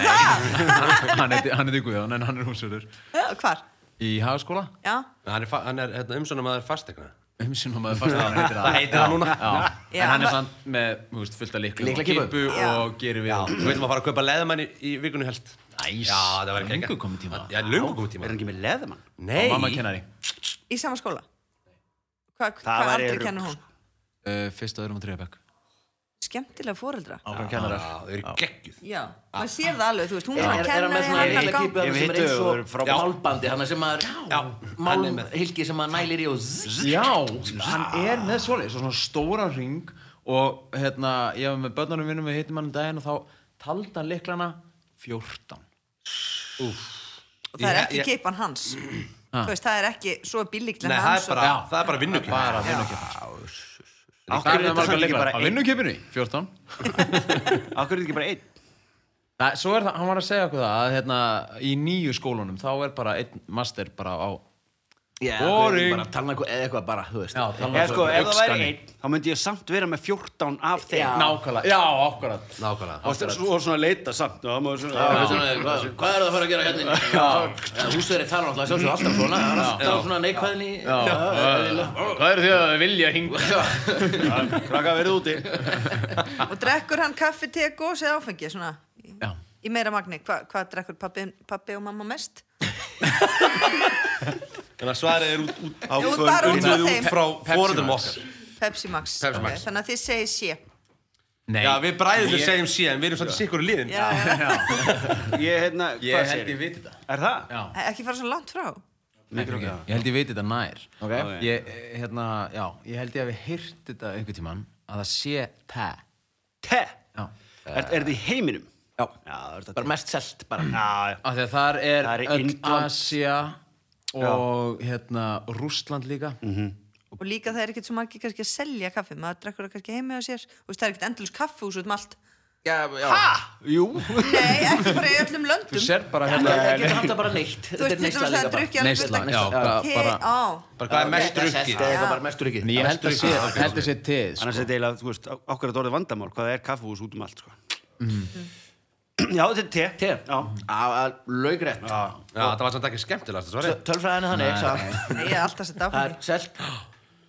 [SPEAKER 5] Hann heiti, hann heiti Guðjón en hann er húsverður
[SPEAKER 2] Já, hvar?
[SPEAKER 5] Í hagaskóla,
[SPEAKER 2] já,
[SPEAKER 3] hann er, fa- hann er hérna, umsönum að það er fastegna
[SPEAKER 5] umsýnum að fasta hann heitir
[SPEAKER 3] það
[SPEAKER 5] það
[SPEAKER 3] heitir það núna
[SPEAKER 5] Já.
[SPEAKER 2] Já.
[SPEAKER 5] En hann er samt með þú veist, fullt af líklu og
[SPEAKER 1] Lyklakipu.
[SPEAKER 5] kipu og gerir við
[SPEAKER 3] Við veitum að fara að kaupa leðamann í, í vikunni helst
[SPEAKER 5] Næs,
[SPEAKER 3] Já, það var ekki
[SPEAKER 5] Lengur komið tíma
[SPEAKER 3] Já, lungu komið tíma
[SPEAKER 4] Er hann ekki með leðamann?
[SPEAKER 3] Nei,
[SPEAKER 5] Mamma kennari
[SPEAKER 2] í sama skóla Hva,
[SPEAKER 4] væri
[SPEAKER 2] hvað aldrei
[SPEAKER 4] rugl,
[SPEAKER 2] kennur hún?
[SPEAKER 5] uh, Fyrst og öðrum og þriðabæk
[SPEAKER 2] skemmtilega fóreldra
[SPEAKER 1] Áfram kennarar
[SPEAKER 3] Já, þau eru geggjuð
[SPEAKER 2] já, maður sér það alveg, þú veist, hún
[SPEAKER 1] Er
[SPEAKER 2] var
[SPEAKER 1] er-
[SPEAKER 2] að
[SPEAKER 1] er hann
[SPEAKER 2] kenna
[SPEAKER 1] með svona
[SPEAKER 2] hann að
[SPEAKER 1] heila
[SPEAKER 2] ganga
[SPEAKER 1] kýpa
[SPEAKER 4] Ef
[SPEAKER 1] sem er eins
[SPEAKER 4] við hittum,
[SPEAKER 1] og
[SPEAKER 4] það er frábært.
[SPEAKER 1] málbandi hann sem maður
[SPEAKER 3] hann er með-
[SPEAKER 1] málhylki sem maður nælir í og zzz.
[SPEAKER 5] Já, hann er með svoleiðis og svona stóra ring og hérna, ég var með börnunum vinnum við hittum hann um daginn og þá taldi hann liklana 14
[SPEAKER 2] og það er
[SPEAKER 3] Ég-
[SPEAKER 2] ekki
[SPEAKER 3] ég-
[SPEAKER 2] kipan hans þú veist, það er ekki svo
[SPEAKER 3] Nei,
[SPEAKER 2] bílíklega
[SPEAKER 3] það er
[SPEAKER 2] hans og-
[SPEAKER 3] bara, það er bara vinnukjöf
[SPEAKER 5] bara vinnukjöpar
[SPEAKER 4] Akkur er þetta samt ekki bara
[SPEAKER 5] Á
[SPEAKER 4] einn
[SPEAKER 5] vinnukjöpunni? 14
[SPEAKER 4] Akkur er þetta ekki bara einn
[SPEAKER 5] Nei, svo er það, hann var að segja okkur það að hérna, í nýju skólunum þá er bara einn master bara á
[SPEAKER 1] Já,
[SPEAKER 5] Boring.
[SPEAKER 1] bara talna eitthvað- eða eitthvað bara, þú veist
[SPEAKER 4] Eða sko, ef það væri einn, þá myndi ég samt vera með 14 af þeim
[SPEAKER 1] Já.
[SPEAKER 5] Nákvæmlega, já, ákvæmlega
[SPEAKER 3] Nákvæmlega
[SPEAKER 4] Og svo- og svona leita samt já, maður svona-
[SPEAKER 1] Já, við svona, Hvað hvað er það að fara að gera hérna Húsverið talar náttúrulega sjálfsög alltaf svona Það er alltaf svona neikvæðin í Já, eðlilega.
[SPEAKER 5] Hvað eru því að vilja hinga?
[SPEAKER 4] Krakka verið úti
[SPEAKER 2] og drekkur hann kaffi, te, gós eða áfengi svona, í-
[SPEAKER 5] Já.
[SPEAKER 2] í meira magni Hva, hvað drekkur pappi, pappi og mamma mest?
[SPEAKER 3] Þannig að svarið er út, út,
[SPEAKER 2] Jú, bara út frá
[SPEAKER 3] unnið
[SPEAKER 2] þeim.
[SPEAKER 3] út frá
[SPEAKER 5] Pepsi
[SPEAKER 3] fóruðum
[SPEAKER 5] Max.
[SPEAKER 3] okkar.
[SPEAKER 2] Pepsi Max,
[SPEAKER 3] Pepsi Max.
[SPEAKER 2] Ok, þannig að þið segið sé
[SPEAKER 5] Nei,
[SPEAKER 3] Já, við bræðum við segjum síðan, við erum svolítið sikkur í liðin.
[SPEAKER 2] já, já.
[SPEAKER 4] Ég, hérna,
[SPEAKER 5] ég
[SPEAKER 4] hvað
[SPEAKER 5] held
[SPEAKER 4] segir
[SPEAKER 5] ég viti þetta
[SPEAKER 4] Er það?
[SPEAKER 5] Já.
[SPEAKER 2] ekki fara svo langt frá
[SPEAKER 5] Nei, fyrir ekki. Ég held ég veit þetta nær
[SPEAKER 1] Ok.
[SPEAKER 5] Já, ég, eh, hérna, já, ég held ég hafi heyrt þetta einhvern tímann að það sé te
[SPEAKER 4] Te
[SPEAKER 5] Já.
[SPEAKER 4] Er er það í heiminum?
[SPEAKER 1] Já,
[SPEAKER 4] Já, það er
[SPEAKER 1] bara
[SPEAKER 4] þetta
[SPEAKER 1] mest selt bara
[SPEAKER 4] Já, já
[SPEAKER 5] Af því að þar er,
[SPEAKER 4] Þar er
[SPEAKER 5] öll
[SPEAKER 4] Indland.
[SPEAKER 5] Asia og hérna Rússland líka
[SPEAKER 2] og líka það er ekkert svo margir kannski að selja kaffi maður drekkur það kannski heima á sér og veist, það er ekkert endalus kaffi út um allt
[SPEAKER 1] Já, já
[SPEAKER 4] Jú
[SPEAKER 2] nei, ekki bara í öllum löndum
[SPEAKER 5] Þú sér bara
[SPEAKER 1] Það
[SPEAKER 5] hérna
[SPEAKER 1] það getur handað bara neitt
[SPEAKER 2] þú veist,
[SPEAKER 1] er
[SPEAKER 2] þú veist,
[SPEAKER 1] neysla
[SPEAKER 2] það
[SPEAKER 1] líka
[SPEAKER 2] er
[SPEAKER 1] bara.
[SPEAKER 2] drukkið alveg
[SPEAKER 5] Neysla,
[SPEAKER 2] fullt
[SPEAKER 5] já,
[SPEAKER 2] af-
[SPEAKER 5] bara-
[SPEAKER 2] Te-
[SPEAKER 5] bara-
[SPEAKER 2] á.
[SPEAKER 3] Bara hvað er mest
[SPEAKER 1] Þetta er
[SPEAKER 3] drukkið?
[SPEAKER 1] selt eða eitthvað bara mest drukkið
[SPEAKER 5] En ég held að
[SPEAKER 3] Mest
[SPEAKER 5] sé,
[SPEAKER 3] drukkið. Ok,
[SPEAKER 5] held að sé til sko.
[SPEAKER 4] Annars er þetta eiginlega, þú veist, á- á hverju þetta orðið vandamál Hvað er kaffehús út um allt, sko Já, þetta er te
[SPEAKER 1] Te.
[SPEAKER 4] Já
[SPEAKER 1] Laugrætt
[SPEAKER 3] Já, það var samt ekki skemmtilegast að svara.
[SPEAKER 1] Tölfræðin er þannig samt
[SPEAKER 2] Nei, ég er alltaf sett
[SPEAKER 1] Það er
[SPEAKER 2] áfengi
[SPEAKER 1] selt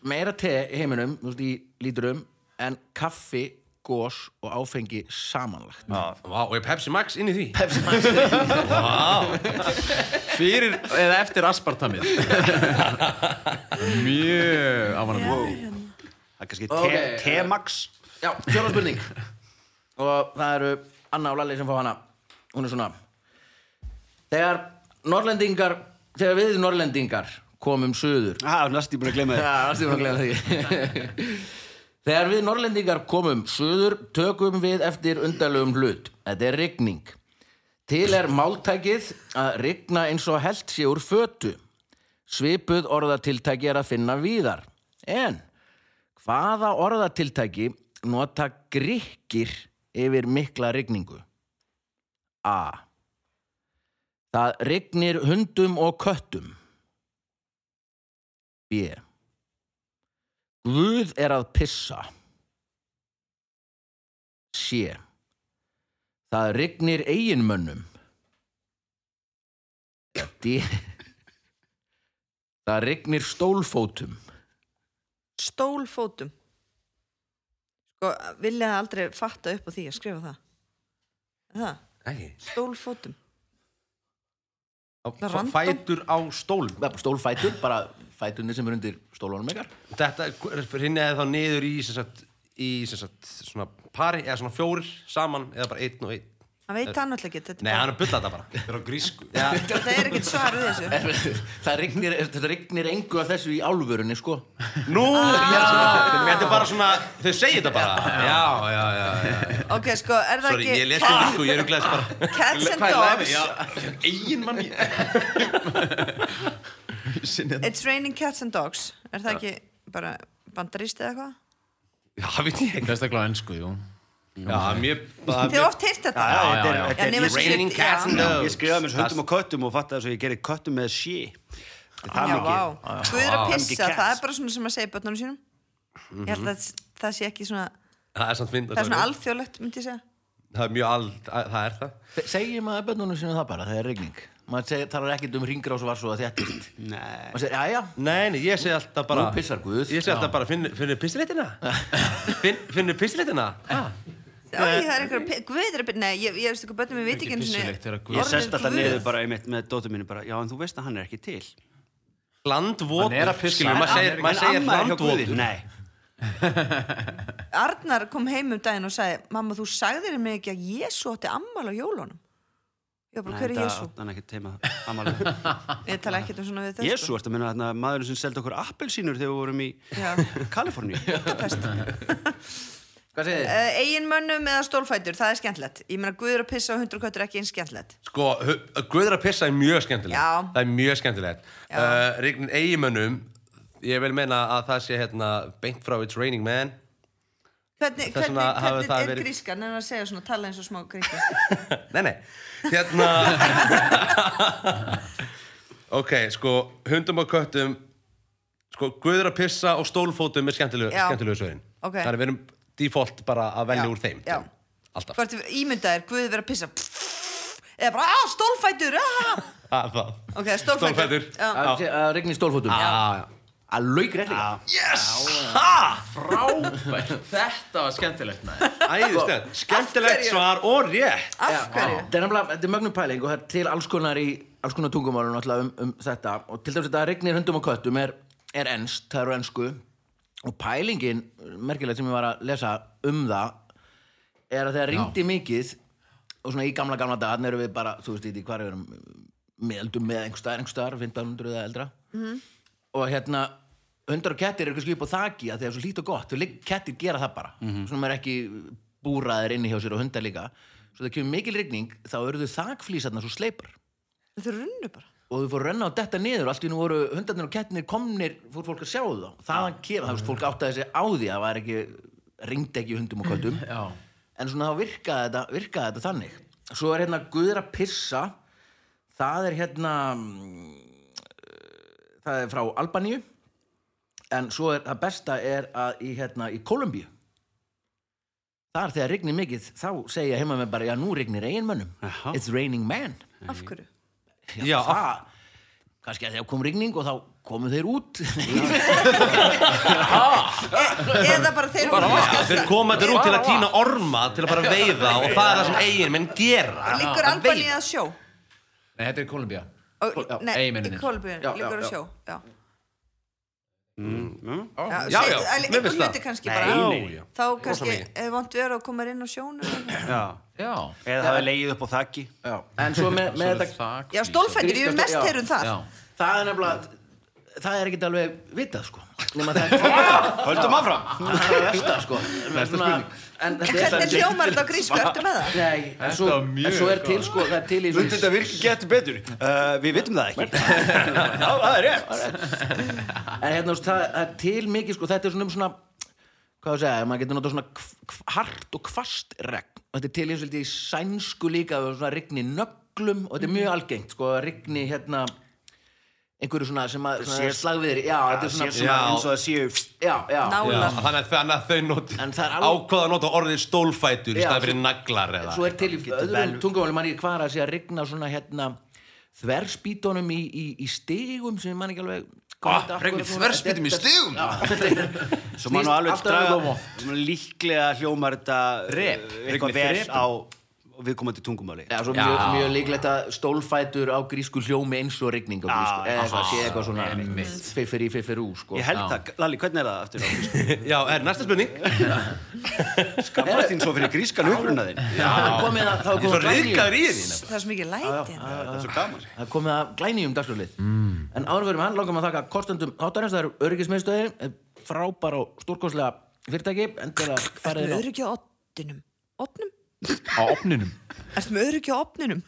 [SPEAKER 1] meira te í heiminum, þú veist, í lítrum en kaffi, gós og áfengi samanlagt.
[SPEAKER 3] Vá, og er Pepsi Max inn í því?
[SPEAKER 1] Pepsi Max
[SPEAKER 5] Fyrir eða eftir aspartamið Mjög ámannandi
[SPEAKER 2] hérna.
[SPEAKER 4] Það er kannski
[SPEAKER 1] Ok.
[SPEAKER 4] te, te-max
[SPEAKER 1] Já, fjóra spurning og það eru Anna og Lalli sem fá hana hún er svona þegar norrlendingar þegar við norrlendingar komum suður
[SPEAKER 4] Það er næst ég búin að glemma
[SPEAKER 1] Já,
[SPEAKER 4] þér
[SPEAKER 1] það er bara að glemja því Þegar við Norrlendingar komum suður tökum við eftir undarlegum hlut Þetta er rigning Til er máltækið að rigna eins og held sé úr fötu Svipuð orðatiltæki er að finna víðar En hvaða orðatiltæki nota grikkir yfir mikla rigningu? A. Það rignir hundum og köttum B. Guð er að pissa. C. Það rignir eiginmönnum. Eða D. Það rignir stólfótum.
[SPEAKER 2] stólfótum sko, vilja það aldrei fatta upp á því að skrifa það Er það,
[SPEAKER 3] Ekki.
[SPEAKER 2] stólfótum
[SPEAKER 3] Á-
[SPEAKER 2] Það er random.
[SPEAKER 3] Fætur á stólum.
[SPEAKER 1] Það er bara Stólfætur, bara fætunni sem er undir stólunum ykkar.
[SPEAKER 3] Þetta rinniði þá niður í, sem sagt, í sem sagt, svona pari eða svona fjórir saman eða bara einn og einn.
[SPEAKER 2] hann veit það náttúrulega ekki þetta
[SPEAKER 3] Nei,
[SPEAKER 2] er
[SPEAKER 3] hann er bullað þetta bara.
[SPEAKER 5] Það er á grísku
[SPEAKER 3] Já,
[SPEAKER 2] bara- það er ekkert svar við þessu
[SPEAKER 1] Það rignir, þetta rignir engu af þessu í álfurunni, sko.
[SPEAKER 3] nú, já, þetta er bara svona, þau segja þetta bara. Ah. Já, já, já, já.
[SPEAKER 2] ok, sko, er það
[SPEAKER 3] Sorry, ég
[SPEAKER 2] ekki
[SPEAKER 3] lesi þetta sko, ég er glæðis bara.
[SPEAKER 2] cats and
[SPEAKER 5] Hvað
[SPEAKER 2] dogs
[SPEAKER 5] er lefið? Egin manni Sinni
[SPEAKER 2] it's raining cats and dogs er það ekki bara bandarist eða eitthvað
[SPEAKER 3] Já, veit ég ekki.
[SPEAKER 5] Besta gláð ennsku, jú
[SPEAKER 3] Já, mér,
[SPEAKER 2] þið er oft heyrt þetta
[SPEAKER 4] Já, þetta er-
[SPEAKER 5] já.
[SPEAKER 4] þetta
[SPEAKER 2] nema
[SPEAKER 4] er-
[SPEAKER 2] sem-
[SPEAKER 3] Raining
[SPEAKER 2] Já.
[SPEAKER 3] cats and dogs.
[SPEAKER 4] Ég skrifaði mér hundum og köttum og fattaði svo ég gerði köttum með sí Það er það
[SPEAKER 2] já,
[SPEAKER 4] mikið
[SPEAKER 2] vá, guð er að
[SPEAKER 4] Vá.
[SPEAKER 2] pissa
[SPEAKER 4] Cats.
[SPEAKER 2] það er bara svona sem að segja börnunum sínum ég held að það sé ekki svona
[SPEAKER 3] Það er samt fyndið. sko.
[SPEAKER 2] það er svona alþjóðlegt, myndi ég segja
[SPEAKER 3] Það er mjög al... að- Það er það.
[SPEAKER 1] Segjum maður bönnunum sinu það bara, það er rigning. Maður seg, talar ekkert um ringrás og var svo að þjættist.
[SPEAKER 4] Nei
[SPEAKER 1] Maður segir, já, já,
[SPEAKER 3] Nei, nei, ég segi alltaf bara...
[SPEAKER 1] Nú pissar Guð.
[SPEAKER 3] Ég segi alltaf bara, finn, finnur pissilitina? finn, finnur pissilitina?
[SPEAKER 2] Æ, það er einhver, guð er að byrja, nei, ég, ég veist eitthvað börnum, ég veit ekki einu sinni
[SPEAKER 5] pissulegt þegar guð-
[SPEAKER 4] Ég
[SPEAKER 2] orðið
[SPEAKER 4] sest alltaf
[SPEAKER 2] guð.
[SPEAKER 4] niður bara einmitt með dóttur mínu bara, já en þú veist að hann er ekki til
[SPEAKER 3] Landvotur.
[SPEAKER 5] Hann er að pissa.
[SPEAKER 3] Skilur, maður
[SPEAKER 5] Hann
[SPEAKER 3] segir, maður segir landvotur.
[SPEAKER 4] Nei,
[SPEAKER 2] Arnar kom heim um daginn og sagði, mamma, þú sagðir mér ekki að Jésu átti ammál á jólunum. Ég var bara, hver er Jésu?
[SPEAKER 4] hann er ekki teima
[SPEAKER 2] Ég tala ekkert um svona við þess.
[SPEAKER 4] Jésu, ertu að minna þarna maðurinn sem seldi okkur appelsínur þegar við vorum í
[SPEAKER 2] Já,
[SPEAKER 4] Kaliforníu
[SPEAKER 2] pest.
[SPEAKER 1] hvað segir þið?
[SPEAKER 2] Uh, Egin mönnum eða stólfætur, það er skemmtilegt. Ég meina, guður að pissa á hundru köttur er ekki eins skemmtilegt.
[SPEAKER 3] Sko, hu- Guður að pissa er mjög skemmtilegt.
[SPEAKER 2] Já.
[SPEAKER 3] Það er mjög skemmtilegt.
[SPEAKER 2] Já.
[SPEAKER 3] Uh, Rignin eigimönnum, ég vil meina að það sé hérna beint frá It's Raining Man.
[SPEAKER 2] Hvernig,
[SPEAKER 3] Þess
[SPEAKER 2] hvernig,
[SPEAKER 3] vegna hafi
[SPEAKER 2] hvernig
[SPEAKER 3] það
[SPEAKER 2] er
[SPEAKER 3] verið-
[SPEAKER 2] grískan en að segja svona, tala eins og smá grískan?
[SPEAKER 3] Nei, nei. Hérna... ok, sko, hundum og köttum, sko, Guður að pissa og stólfótum er skemmtilegu,
[SPEAKER 2] Já.
[SPEAKER 3] skemmtilegu svörin.
[SPEAKER 2] Ok.
[SPEAKER 3] Það er við erum default bara að velja
[SPEAKER 2] Já,
[SPEAKER 3] úr þeim.
[SPEAKER 2] já.
[SPEAKER 3] Alltaf.
[SPEAKER 2] Hvort ímyndaðir, guður verið að pissa, eða bara, á, stólfætur, aaa!
[SPEAKER 3] Ah, það.
[SPEAKER 2] Ok, stólfætur.
[SPEAKER 3] Stólfætur.
[SPEAKER 2] Já.
[SPEAKER 1] Að, að rigni stólfótum.
[SPEAKER 3] Ah, já.
[SPEAKER 1] Að laugrætt líka.
[SPEAKER 5] Frábært Þetta var skemmtilegt maður.
[SPEAKER 3] Æðislegt, skemmtilegt
[SPEAKER 2] hverju?
[SPEAKER 3] svar og rétt
[SPEAKER 2] Af hverju?
[SPEAKER 1] Þetta er nefnilega, þetta er mögnum pæling og það er til alls konar í alls konar tungumálum náttúrulega um, um þetta og til dæmis þetta regnir hundum og köttum er, er ennst, það eru ennsku og pælingin, merkilegt sem ég var að lesa um það er að þegar ringdi mikið og svona í gamla gamla dag, þannig erum við bara þú veist, í því hvar við erum meðaldum með einhver staðar, einhver staðar, 1500 eða eldra og hérna hundar og kettir eru kannski upp á þaki að það er svo lít og gott og ligg- kettir gera það bara svona maður er ekki búraðir inni hjá sér og hundar líka svo það kemur mikil rigning þá eru þau þakflýsarna svo sleipar
[SPEAKER 2] Þau runnu bara
[SPEAKER 1] og þau fóru að renna á detta niður og allt í nú voru hundarnir og kettinir komnir fór fólk að sjá þá þaðan kemur, það veist, fólk áttaði sig á því að það var ekki ringdi ekki hundum og köttum
[SPEAKER 5] Já.
[SPEAKER 1] en svona þá virkaði þetta, virkaði þetta þannig svo er hérna guður að pissa það er hérna mm, eh, það er frá Albaníu en svo er það besta er að í hérna í Kolumbíu þar þegar rignir mikið þá segja heima með bara já nú rignir eiginmönnum
[SPEAKER 4] Jaha.
[SPEAKER 1] it's raining man
[SPEAKER 2] Af hverju?
[SPEAKER 3] Já,
[SPEAKER 1] það kannski að þegar kom rigning og þá komu þeir út
[SPEAKER 2] Eða bara þeir
[SPEAKER 3] Bara ah.
[SPEAKER 2] voru-
[SPEAKER 3] vatn. Þeir koma þetta út til að týna orma til að fara að veiða og það er það sem eigin menn gera
[SPEAKER 2] Liggur
[SPEAKER 3] Að
[SPEAKER 2] albaníu
[SPEAKER 3] veiða.
[SPEAKER 2] að sjó
[SPEAKER 5] Nei, þetta er Kolumbía
[SPEAKER 2] Og-
[SPEAKER 5] Já,
[SPEAKER 2] Nei,
[SPEAKER 5] eiginmennirnir.
[SPEAKER 2] í Kolbjörn,
[SPEAKER 1] Já, já,
[SPEAKER 2] liggur að
[SPEAKER 1] já.
[SPEAKER 2] sjó Já,
[SPEAKER 4] Mm.
[SPEAKER 2] já,
[SPEAKER 3] já,
[SPEAKER 2] segðu-
[SPEAKER 3] já,
[SPEAKER 2] að-
[SPEAKER 3] mér
[SPEAKER 2] einhver
[SPEAKER 3] finnst það.
[SPEAKER 2] hluti kannski
[SPEAKER 4] Nei,
[SPEAKER 2] bara
[SPEAKER 4] nei.
[SPEAKER 3] Já, já.
[SPEAKER 2] Þá kannski,
[SPEAKER 3] mikið.
[SPEAKER 2] ef vont verið að koma inn á sjónu
[SPEAKER 4] Já.
[SPEAKER 5] Já,
[SPEAKER 4] Eða hafi leigið upp á þakki.
[SPEAKER 1] já. en svo með, með þetta
[SPEAKER 5] þak
[SPEAKER 2] Já, stólfættir, ég er mest
[SPEAKER 1] Já.
[SPEAKER 2] heyrun það
[SPEAKER 5] Já,
[SPEAKER 1] það er nefnilega það er ekkert alveg vitað sko nema það er
[SPEAKER 4] Höldum áfram.
[SPEAKER 1] það er að versta sko
[SPEAKER 4] Versta
[SPEAKER 1] Svona-
[SPEAKER 4] spurning.
[SPEAKER 1] en
[SPEAKER 2] En
[SPEAKER 1] þetta
[SPEAKER 2] hvernig
[SPEAKER 1] er
[SPEAKER 2] hljómar þetta á grísku, ertu með það?
[SPEAKER 1] Nei, en svo,
[SPEAKER 5] var mjög
[SPEAKER 1] en svo er til sko það er til í
[SPEAKER 4] Myndi þetta virki getur betur? Uh, við vitum það ekki. Já, það er rétt.
[SPEAKER 1] en hérna þú veist, það það er til mikið sko þetta er svona um svona hvað þú segja, maður getur notað svona kv- kv- hart og kvast regn og þetta er til eins og þetta í sænsku líka og svona rigni nöglum og þetta er mjög algengt sko að rigni hérna einhverju svona sem að svona
[SPEAKER 4] Sér-
[SPEAKER 1] slagviðri já, þetta
[SPEAKER 4] Það
[SPEAKER 1] er
[SPEAKER 4] sé
[SPEAKER 1] svona
[SPEAKER 4] svona
[SPEAKER 3] Já.
[SPEAKER 4] eins og það séu
[SPEAKER 1] já, já,
[SPEAKER 3] Já,
[SPEAKER 2] Nálar
[SPEAKER 3] þannig að- þannig að þau noti,
[SPEAKER 1] En það er alveg-
[SPEAKER 3] ákvaða að nota orðið stólfætur í
[SPEAKER 1] Já,
[SPEAKER 3] staði
[SPEAKER 1] svo-
[SPEAKER 3] fyrir naglar eða
[SPEAKER 1] svo er til í öðrum
[SPEAKER 4] vel-
[SPEAKER 1] tungumálum mann ekki hvað er að sé að rigna svona hérna þverspítunum í, í, í stigum sem mann ekki alveg hvað þetta
[SPEAKER 5] Ah,
[SPEAKER 1] af
[SPEAKER 5] regnir
[SPEAKER 1] hverju-
[SPEAKER 5] þverspýtum í
[SPEAKER 1] þetta-
[SPEAKER 5] stigum?
[SPEAKER 1] Já, þetta er-
[SPEAKER 4] Svo maður nú
[SPEAKER 1] snýst
[SPEAKER 4] alveg
[SPEAKER 1] alltaf um
[SPEAKER 4] draga,
[SPEAKER 1] lomo.
[SPEAKER 4] svona líklega hljómar þetta
[SPEAKER 5] Rep.
[SPEAKER 4] uh, eitthvað vel á viðkomandi tungumáli.
[SPEAKER 1] Já, svo
[SPEAKER 3] Já.
[SPEAKER 1] mjög, mjög líklegt að stólfætur á grísku hljómi eins og rigning á grísku eða eitthvað, sé eitthvað svona fiffir í fiffir ú sko.
[SPEAKER 4] Ég held það, Lalli, hvernig er það aftur á?
[SPEAKER 3] Já, er næsta spurning
[SPEAKER 4] Skammast þín svo fyrir grískan upprunaðin.
[SPEAKER 1] Já, það er komið að, þá er
[SPEAKER 3] Ég er
[SPEAKER 1] komið
[SPEAKER 3] svo
[SPEAKER 1] að glænýjum
[SPEAKER 3] reyðgæður í henni
[SPEAKER 2] Það er svo mikið læti hérna.
[SPEAKER 4] Það er svo gaman.
[SPEAKER 1] það er komið að glænýjum dagsljóðlið mm. en áðurverum hann langar maður að þakka kostendum þáttarins, það eru öryggismiðstöðin frábær og stórkostlega fyrirtæki endilega
[SPEAKER 2] Ertu
[SPEAKER 1] farið
[SPEAKER 2] með
[SPEAKER 1] inn á
[SPEAKER 2] öryggi á opninum? Opnum?
[SPEAKER 5] á opninum
[SPEAKER 2] Ertu með öryggi á opninum?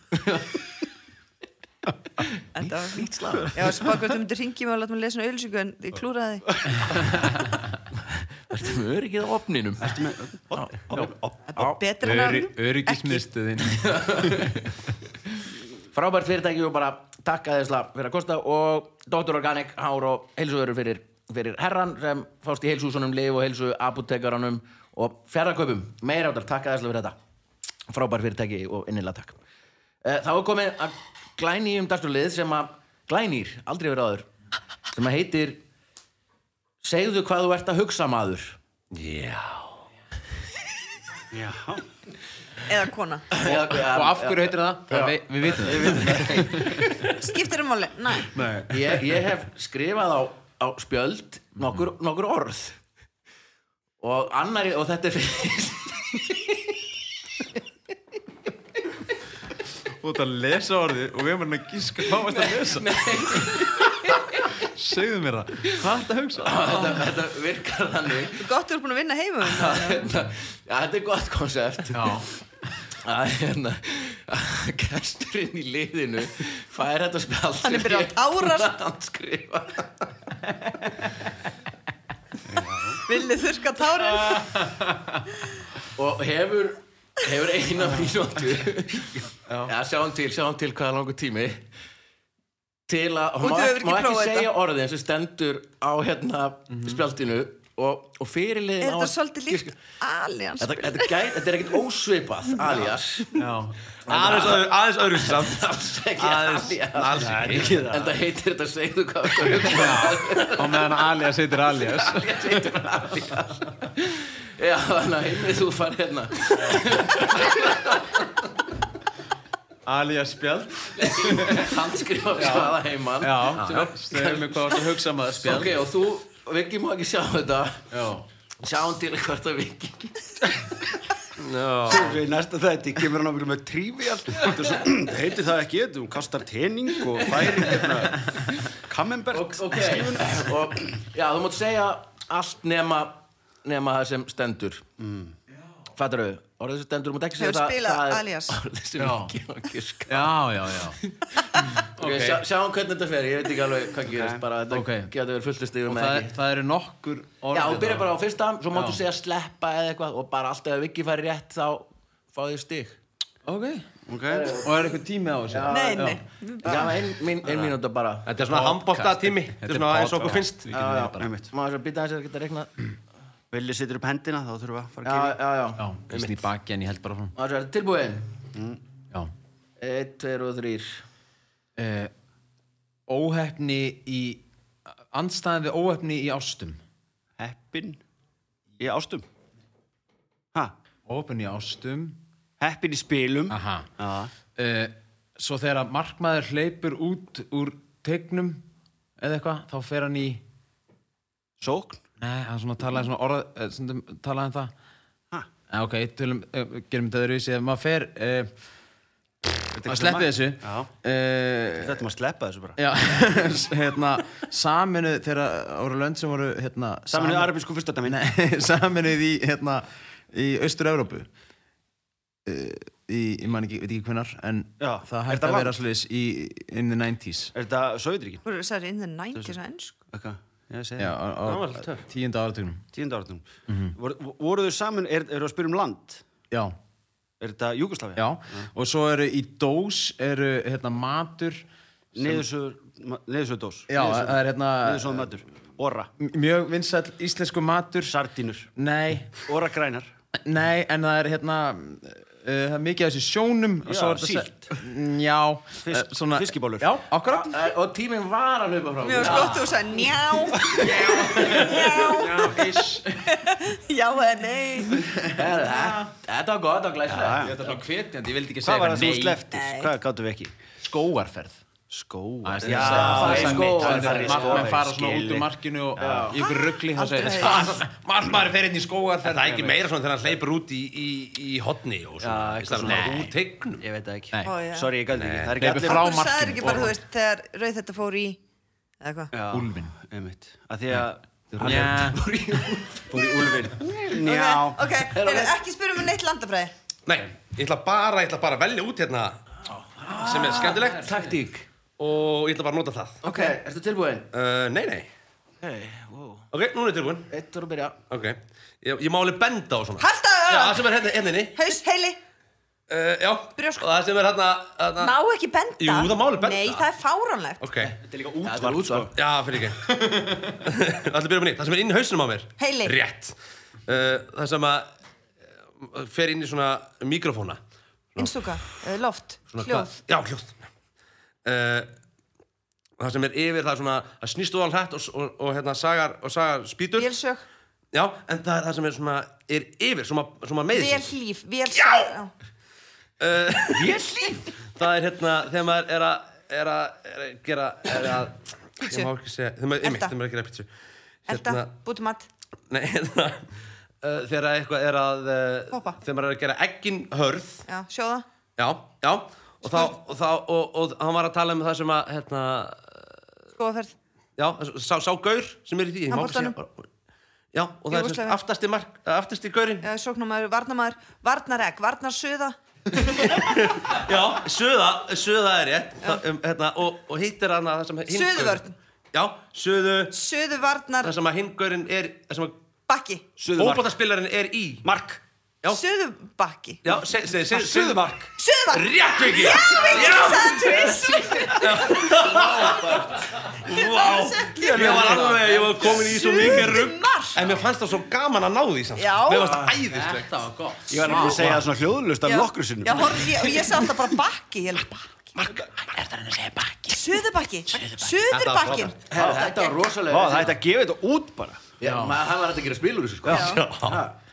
[SPEAKER 2] Þetta var nýtt slag Já, sem bara hvort þú myndir ringi mig og láta mig lesa auðlýsingu en ég klúraði því.
[SPEAKER 1] Ertu með öryggið á opninum
[SPEAKER 2] Þetta er betra en að
[SPEAKER 5] Öryggismiðstöðin
[SPEAKER 1] frábært fyrirtæki og bara takk aðeinslega fyrir að kosta og Dr. Organic hár og heilsuverur fyrir, fyrir herran sem fást í heilsuhúsunum, lif og heilsu apotekaranum og fjárðarkaupum meira áttar, takk aðeinslega fyrir þetta frábært fyrirtæki og innilega takk Eh, þá er komið að glænýjum dagstúrlið sem að glænýr, aldrei verið áður sem að heitir segðu hvað þú ert að hugsa maður
[SPEAKER 4] Já.
[SPEAKER 2] Eða kona
[SPEAKER 5] Og af hverju heitir það? það vei, við vitum það
[SPEAKER 2] Skiptir um máli? Nei
[SPEAKER 1] ég, ég hef skrifað á, á spjöld nokkur, nokkur orð og annari og þetta er fyrir
[SPEAKER 6] Þú ert að lesa orðið og við erum að gíska hvað varst að lesa Segðu mér það, hvað ert að hugsa?
[SPEAKER 1] þetta, þetta virkar þannig
[SPEAKER 2] Gott þú er búin að vinna heima um það
[SPEAKER 1] þetta, ja, þetta er gott konsept
[SPEAKER 5] Já,
[SPEAKER 1] að hérna að gesturinn í liðinu fær þetta spjald
[SPEAKER 2] Hann er byrjað að tárast.
[SPEAKER 1] hann skrifa
[SPEAKER 2] Villi þurrka tárin
[SPEAKER 1] og hefur hefur eina mínútu já, sjáum til, sjáum til hvaða langur tími til að
[SPEAKER 2] Og
[SPEAKER 1] hún má,
[SPEAKER 2] þú
[SPEAKER 1] ekki-
[SPEAKER 2] hefur ekki
[SPEAKER 1] má ekki
[SPEAKER 2] prófað Mhm.
[SPEAKER 1] segja orðin sem stendur á hérna spjaldinu og, og fyrirliðin
[SPEAKER 2] Er
[SPEAKER 1] á
[SPEAKER 2] þetta
[SPEAKER 1] að
[SPEAKER 2] svolítið
[SPEAKER 1] giska-
[SPEAKER 2] líkt Aliens
[SPEAKER 1] Þetta, þetta, gæ, þetta er ekkert ósvipað alias
[SPEAKER 5] já
[SPEAKER 3] Aðeins öðru- Aðeins öðru samt
[SPEAKER 1] alls ekki
[SPEAKER 3] Aðeins,
[SPEAKER 1] alias
[SPEAKER 3] alls ekki
[SPEAKER 4] Ekki
[SPEAKER 1] en
[SPEAKER 4] það.
[SPEAKER 1] það heitir þetta segðu hvað þú hugsa
[SPEAKER 5] Á meðan alias heitir alias
[SPEAKER 1] alias heitir alias já þannig að heimrið þú fari hérna
[SPEAKER 6] alias spjald
[SPEAKER 1] handskrifa skada heimann
[SPEAKER 6] Já, segðu mér hvað varst að hugsa maður spjald
[SPEAKER 1] ok, og þú, Viki má ekki sjá þetta
[SPEAKER 6] Já,
[SPEAKER 1] sjáum til hvert að Viki
[SPEAKER 3] Já,
[SPEAKER 4] Í næsta þætti kemur hann ábyggulega með trivial Þetta er svo, það heitir það ekki, þú kastar tening og færi hérna Kamembert
[SPEAKER 1] ok, og já, þú mátt segja allt nema nema það sem stendur mm. fattar þau, orðið sem stendur þú mátt ekki segja
[SPEAKER 2] Hefur
[SPEAKER 1] það
[SPEAKER 2] spilað
[SPEAKER 1] það er
[SPEAKER 2] alias.
[SPEAKER 1] orðið sem Viki má ekki skada
[SPEAKER 5] Já, já, já.
[SPEAKER 1] ok, sjá, sjáum hvernig þetta fer, ég veit ekki alveg hvað gerist bara þetta
[SPEAKER 5] Ok.
[SPEAKER 1] getur verið fulltistigum eða
[SPEAKER 5] Það,
[SPEAKER 1] ekki
[SPEAKER 5] það eru nokkur orð
[SPEAKER 1] Já, þú byrjar bara á fyrsta, svo máttu
[SPEAKER 5] Já.
[SPEAKER 1] segja sleppa eða eitthvað og bara alltaf ef Viki fær rétt þá fá þið stig
[SPEAKER 5] Ok.
[SPEAKER 4] Ok,
[SPEAKER 5] Og er eitthvað tími á þessu?
[SPEAKER 2] Nei, nei,
[SPEAKER 1] Já, ein, ein, ein mínúta bara
[SPEAKER 3] þetta er svona handbóta tími Þetta er svona eins og okkur finnst
[SPEAKER 5] Við getum verið bara.
[SPEAKER 4] einmitt
[SPEAKER 1] Maður svo býta hans að geta reiknað
[SPEAKER 4] Vilja setur upp hendina, þá þurfum við að fara
[SPEAKER 1] Já,
[SPEAKER 4] að gefa
[SPEAKER 1] já, já
[SPEAKER 5] Já, ég snýr baki en ég held bara fram.
[SPEAKER 1] Maður svo er tilbúin
[SPEAKER 5] Já.
[SPEAKER 1] Eitt, tveir og þrýr
[SPEAKER 5] Eh, óhefni í, andstæðan við óhefni í ástum.
[SPEAKER 4] Heppin í ástum Ha,
[SPEAKER 5] Óhefni í ástum.
[SPEAKER 4] heppin í spilum
[SPEAKER 5] Aha.
[SPEAKER 4] Já,
[SPEAKER 5] Eh, svo þegar að markmaður hleypur út úr tegnum eða eitthvað, þá fer hann í...
[SPEAKER 4] sókn
[SPEAKER 5] Nei, hann svona talaði svona orða, eh, stundum talaði um það.
[SPEAKER 4] Ha,
[SPEAKER 5] Ja, ok, tölum, uh, gerum þetta öðruvísi ef maður fer uh,
[SPEAKER 4] þetta
[SPEAKER 5] að sleppi þessu
[SPEAKER 4] Já,
[SPEAKER 5] uh,
[SPEAKER 4] þetta maður sleppa þessu bara
[SPEAKER 5] já, hérna saminu þegar það voru lönd sem voru hérna,
[SPEAKER 4] Saman við
[SPEAKER 5] sam-
[SPEAKER 4] arabísku fyrstatamin
[SPEAKER 5] Nei, saminuð í hérna, í austur-Európu uh, í, ég man ekki, veit ekki hvenar en
[SPEAKER 4] Já, er
[SPEAKER 5] það hætti
[SPEAKER 4] það
[SPEAKER 5] að vera
[SPEAKER 4] langt?
[SPEAKER 5] slis í, in the 90s
[SPEAKER 4] Er þetta Söðuríkin?
[SPEAKER 2] Þú sagðir in the 90s á ennsku
[SPEAKER 4] Eitthvað, já, ég segi
[SPEAKER 5] já,
[SPEAKER 4] Eh,
[SPEAKER 5] Mhm. á,
[SPEAKER 4] það
[SPEAKER 3] Það var
[SPEAKER 5] á
[SPEAKER 3] alveg töff.
[SPEAKER 5] tíunda áratugnum
[SPEAKER 4] Tíunda áratugum Voru, voru þau saman, er, eru að spyrja um land?
[SPEAKER 5] já,
[SPEAKER 4] Er þetta Júgoslavia?
[SPEAKER 5] já, og svo eru í dós eru hérna matur
[SPEAKER 4] Neðursöður dós
[SPEAKER 5] já, það er hérna
[SPEAKER 4] Neðursöður matur Óra
[SPEAKER 5] mjög vinsæll íslensku matur
[SPEAKER 4] Sardínur
[SPEAKER 5] Nei,
[SPEAKER 4] Óra grænar
[SPEAKER 5] nei, en það er hérna uh, það er mikið af þessu sjónum og
[SPEAKER 4] Já,
[SPEAKER 5] svo er þetta
[SPEAKER 4] síld.
[SPEAKER 5] se- Mm, Já,
[SPEAKER 4] Fisk-
[SPEAKER 5] eh, svona-
[SPEAKER 4] fiskibólur.
[SPEAKER 5] Já, akkurat
[SPEAKER 1] Eh, Og tíminn var að hlaupa frá
[SPEAKER 2] Mjög
[SPEAKER 1] mér.
[SPEAKER 2] skott og þú sagði njá
[SPEAKER 5] Já, ish
[SPEAKER 2] Já, já eða nei
[SPEAKER 1] Herra, þe- Þetta var gott og glæsilegt
[SPEAKER 5] Þetta er svona hvetjandi, ég vildi ekki
[SPEAKER 4] Hvað
[SPEAKER 5] segja
[SPEAKER 4] var það sem þú
[SPEAKER 5] nei.
[SPEAKER 4] sleftir? Hvað gáttum við ekki?
[SPEAKER 5] Skóarferð
[SPEAKER 4] Skó
[SPEAKER 5] Já,
[SPEAKER 1] Sko, það er skóar.
[SPEAKER 5] skóarferð Markmann fara svona út
[SPEAKER 4] Skilið.
[SPEAKER 5] úr markinu og í ykkur ruggli þá
[SPEAKER 2] Aldrei.
[SPEAKER 5] segir Markmann fer inn í skóarferð
[SPEAKER 3] Það er ekki meira svona þegar hann hleypur út í, í, í hotni og svona,
[SPEAKER 4] Já,
[SPEAKER 3] í staðan
[SPEAKER 4] eitthvað
[SPEAKER 3] fyrir
[SPEAKER 4] svona.
[SPEAKER 3] úr tegnum.
[SPEAKER 4] Ég veit það ekki
[SPEAKER 5] Nei.
[SPEAKER 2] Ó, já.
[SPEAKER 4] Sorry, ég gæti ekki Það er
[SPEAKER 5] Nei,
[SPEAKER 4] ekki
[SPEAKER 5] frá
[SPEAKER 2] Þú sagðir
[SPEAKER 5] markinu.
[SPEAKER 2] ekki bara, þú veist, þegar rauð þetta fór í eða hvað
[SPEAKER 4] allir
[SPEAKER 5] Úlfin.
[SPEAKER 4] Einmitt Af því að hann er-
[SPEAKER 5] Já,
[SPEAKER 4] Fór í úlfin Já
[SPEAKER 2] Ok, ok, heyrðu, ekki spyrjum um neitt landafræði
[SPEAKER 3] Nei, ég ætla bara, ég ætla bara að velja út hérna sem er skemmtilegt
[SPEAKER 1] Taktík
[SPEAKER 3] og ég ætla bara að nota það.
[SPEAKER 1] Ok, ertu tilbúin?
[SPEAKER 3] Uh, nei, nei.
[SPEAKER 1] Hey, wow.
[SPEAKER 3] Ok, núna er tilbúin.
[SPEAKER 1] Eitt voru að byrja
[SPEAKER 3] Ok, ég, ég má alveg benda á svona.
[SPEAKER 2] Halda!
[SPEAKER 3] Já, það sem er hérna, hérna inni.
[SPEAKER 2] Haus, heili,
[SPEAKER 3] Uh, já,
[SPEAKER 2] Brjósk.
[SPEAKER 3] og það sem er hérna, hérna.
[SPEAKER 2] má ekki benda
[SPEAKER 3] Jú, það má alveg benda.
[SPEAKER 2] Nei, það er fáránlegt
[SPEAKER 3] Ok,
[SPEAKER 4] Þetta er líka
[SPEAKER 1] Það var út sko
[SPEAKER 3] já, fyrir ekki. Allir byrja upp nýtt. Það sem er inn í hausnum á mér.
[SPEAKER 2] Heili.
[SPEAKER 3] Rétt. Uh, það sem að uh, fer inn í svona mikrofóna.
[SPEAKER 2] Innstúka, eh, loft, hljóð
[SPEAKER 3] Já, hljóð. Uh, það sem er yfir, það er svona, það snýst óal hrætt og, og, og hérna sagar, og sagar spýtur.
[SPEAKER 2] Vélsög,
[SPEAKER 3] Já, en það er það sem er svona, er yfir, svona, svona meðsins.
[SPEAKER 2] vélhlíf, vélsög Já,
[SPEAKER 3] Vélhlíf? Það er hérna, þegar maður er að, er að, er að gera, er að, ég má ekki segja, þegar maður, einmitt,
[SPEAKER 2] Elda.
[SPEAKER 3] þegar maður er að gera pítsu.
[SPEAKER 2] elda,
[SPEAKER 3] Hérna.
[SPEAKER 2] búti mat
[SPEAKER 3] nei, hérna, uh, þegar að eitthvað er að, uh,
[SPEAKER 2] Poppa.
[SPEAKER 3] þegar maður er að gera eggin hörð,
[SPEAKER 2] Já, sjóða
[SPEAKER 3] já, já, og þá, og þá, og, og hann var að tala um það sem að, hérna,
[SPEAKER 2] Skóaferð
[SPEAKER 3] já, sá, sá gaur sem er í því, ég má ekki segja bara. Já, og það er
[SPEAKER 2] Júgóslavi.
[SPEAKER 3] sem aftasti mark, eh, aftasti gaurinn,
[SPEAKER 2] Já, sóknumæður, varnamæður, eh, varnaregg, varnarsuða
[SPEAKER 3] já, söða, söða er rétt, það, um, hérna, og, og hittir hann að það sem hinn gaurinn-
[SPEAKER 2] Suðuvörn.
[SPEAKER 3] Já, söðu,
[SPEAKER 2] Suðuvarnar,
[SPEAKER 3] það sem að hingurinn er það sem að
[SPEAKER 2] bakki
[SPEAKER 4] Suðumark
[SPEAKER 3] fótboltaspilarinn er í
[SPEAKER 4] Mark
[SPEAKER 3] Já.
[SPEAKER 2] Suðubakki
[SPEAKER 3] já, segð, segð, segð
[SPEAKER 4] Suðumark
[SPEAKER 2] Suðuvarn,
[SPEAKER 3] rétt ekki já,
[SPEAKER 2] ég sagði tvist Ég var að segja
[SPEAKER 3] ég var alveg, ég var komin í svo mikið rugg
[SPEAKER 2] Suðumark
[SPEAKER 3] en mér fannst það svo gaman að ná því samt
[SPEAKER 2] Já.
[SPEAKER 3] mér fannst það æðislegt
[SPEAKER 5] þetta var gott
[SPEAKER 4] Ég var nefnilega að segja það svona hljóðlust af
[SPEAKER 2] Já.
[SPEAKER 4] nokkru sinnum
[SPEAKER 2] Já, horf, ég, og ég sá alltaf bara bakki Ég held bakki Suðubakki
[SPEAKER 3] Þetta var
[SPEAKER 2] Suðurbakkin
[SPEAKER 3] frábært.
[SPEAKER 1] Herra, Þetta var
[SPEAKER 4] Vá,
[SPEAKER 1] rosalega
[SPEAKER 4] það ætti að gefa þetta út bara
[SPEAKER 1] Já, maður- Hann var hægt að gera spil úr þessu sko
[SPEAKER 2] Já.
[SPEAKER 3] Já.
[SPEAKER 5] Ég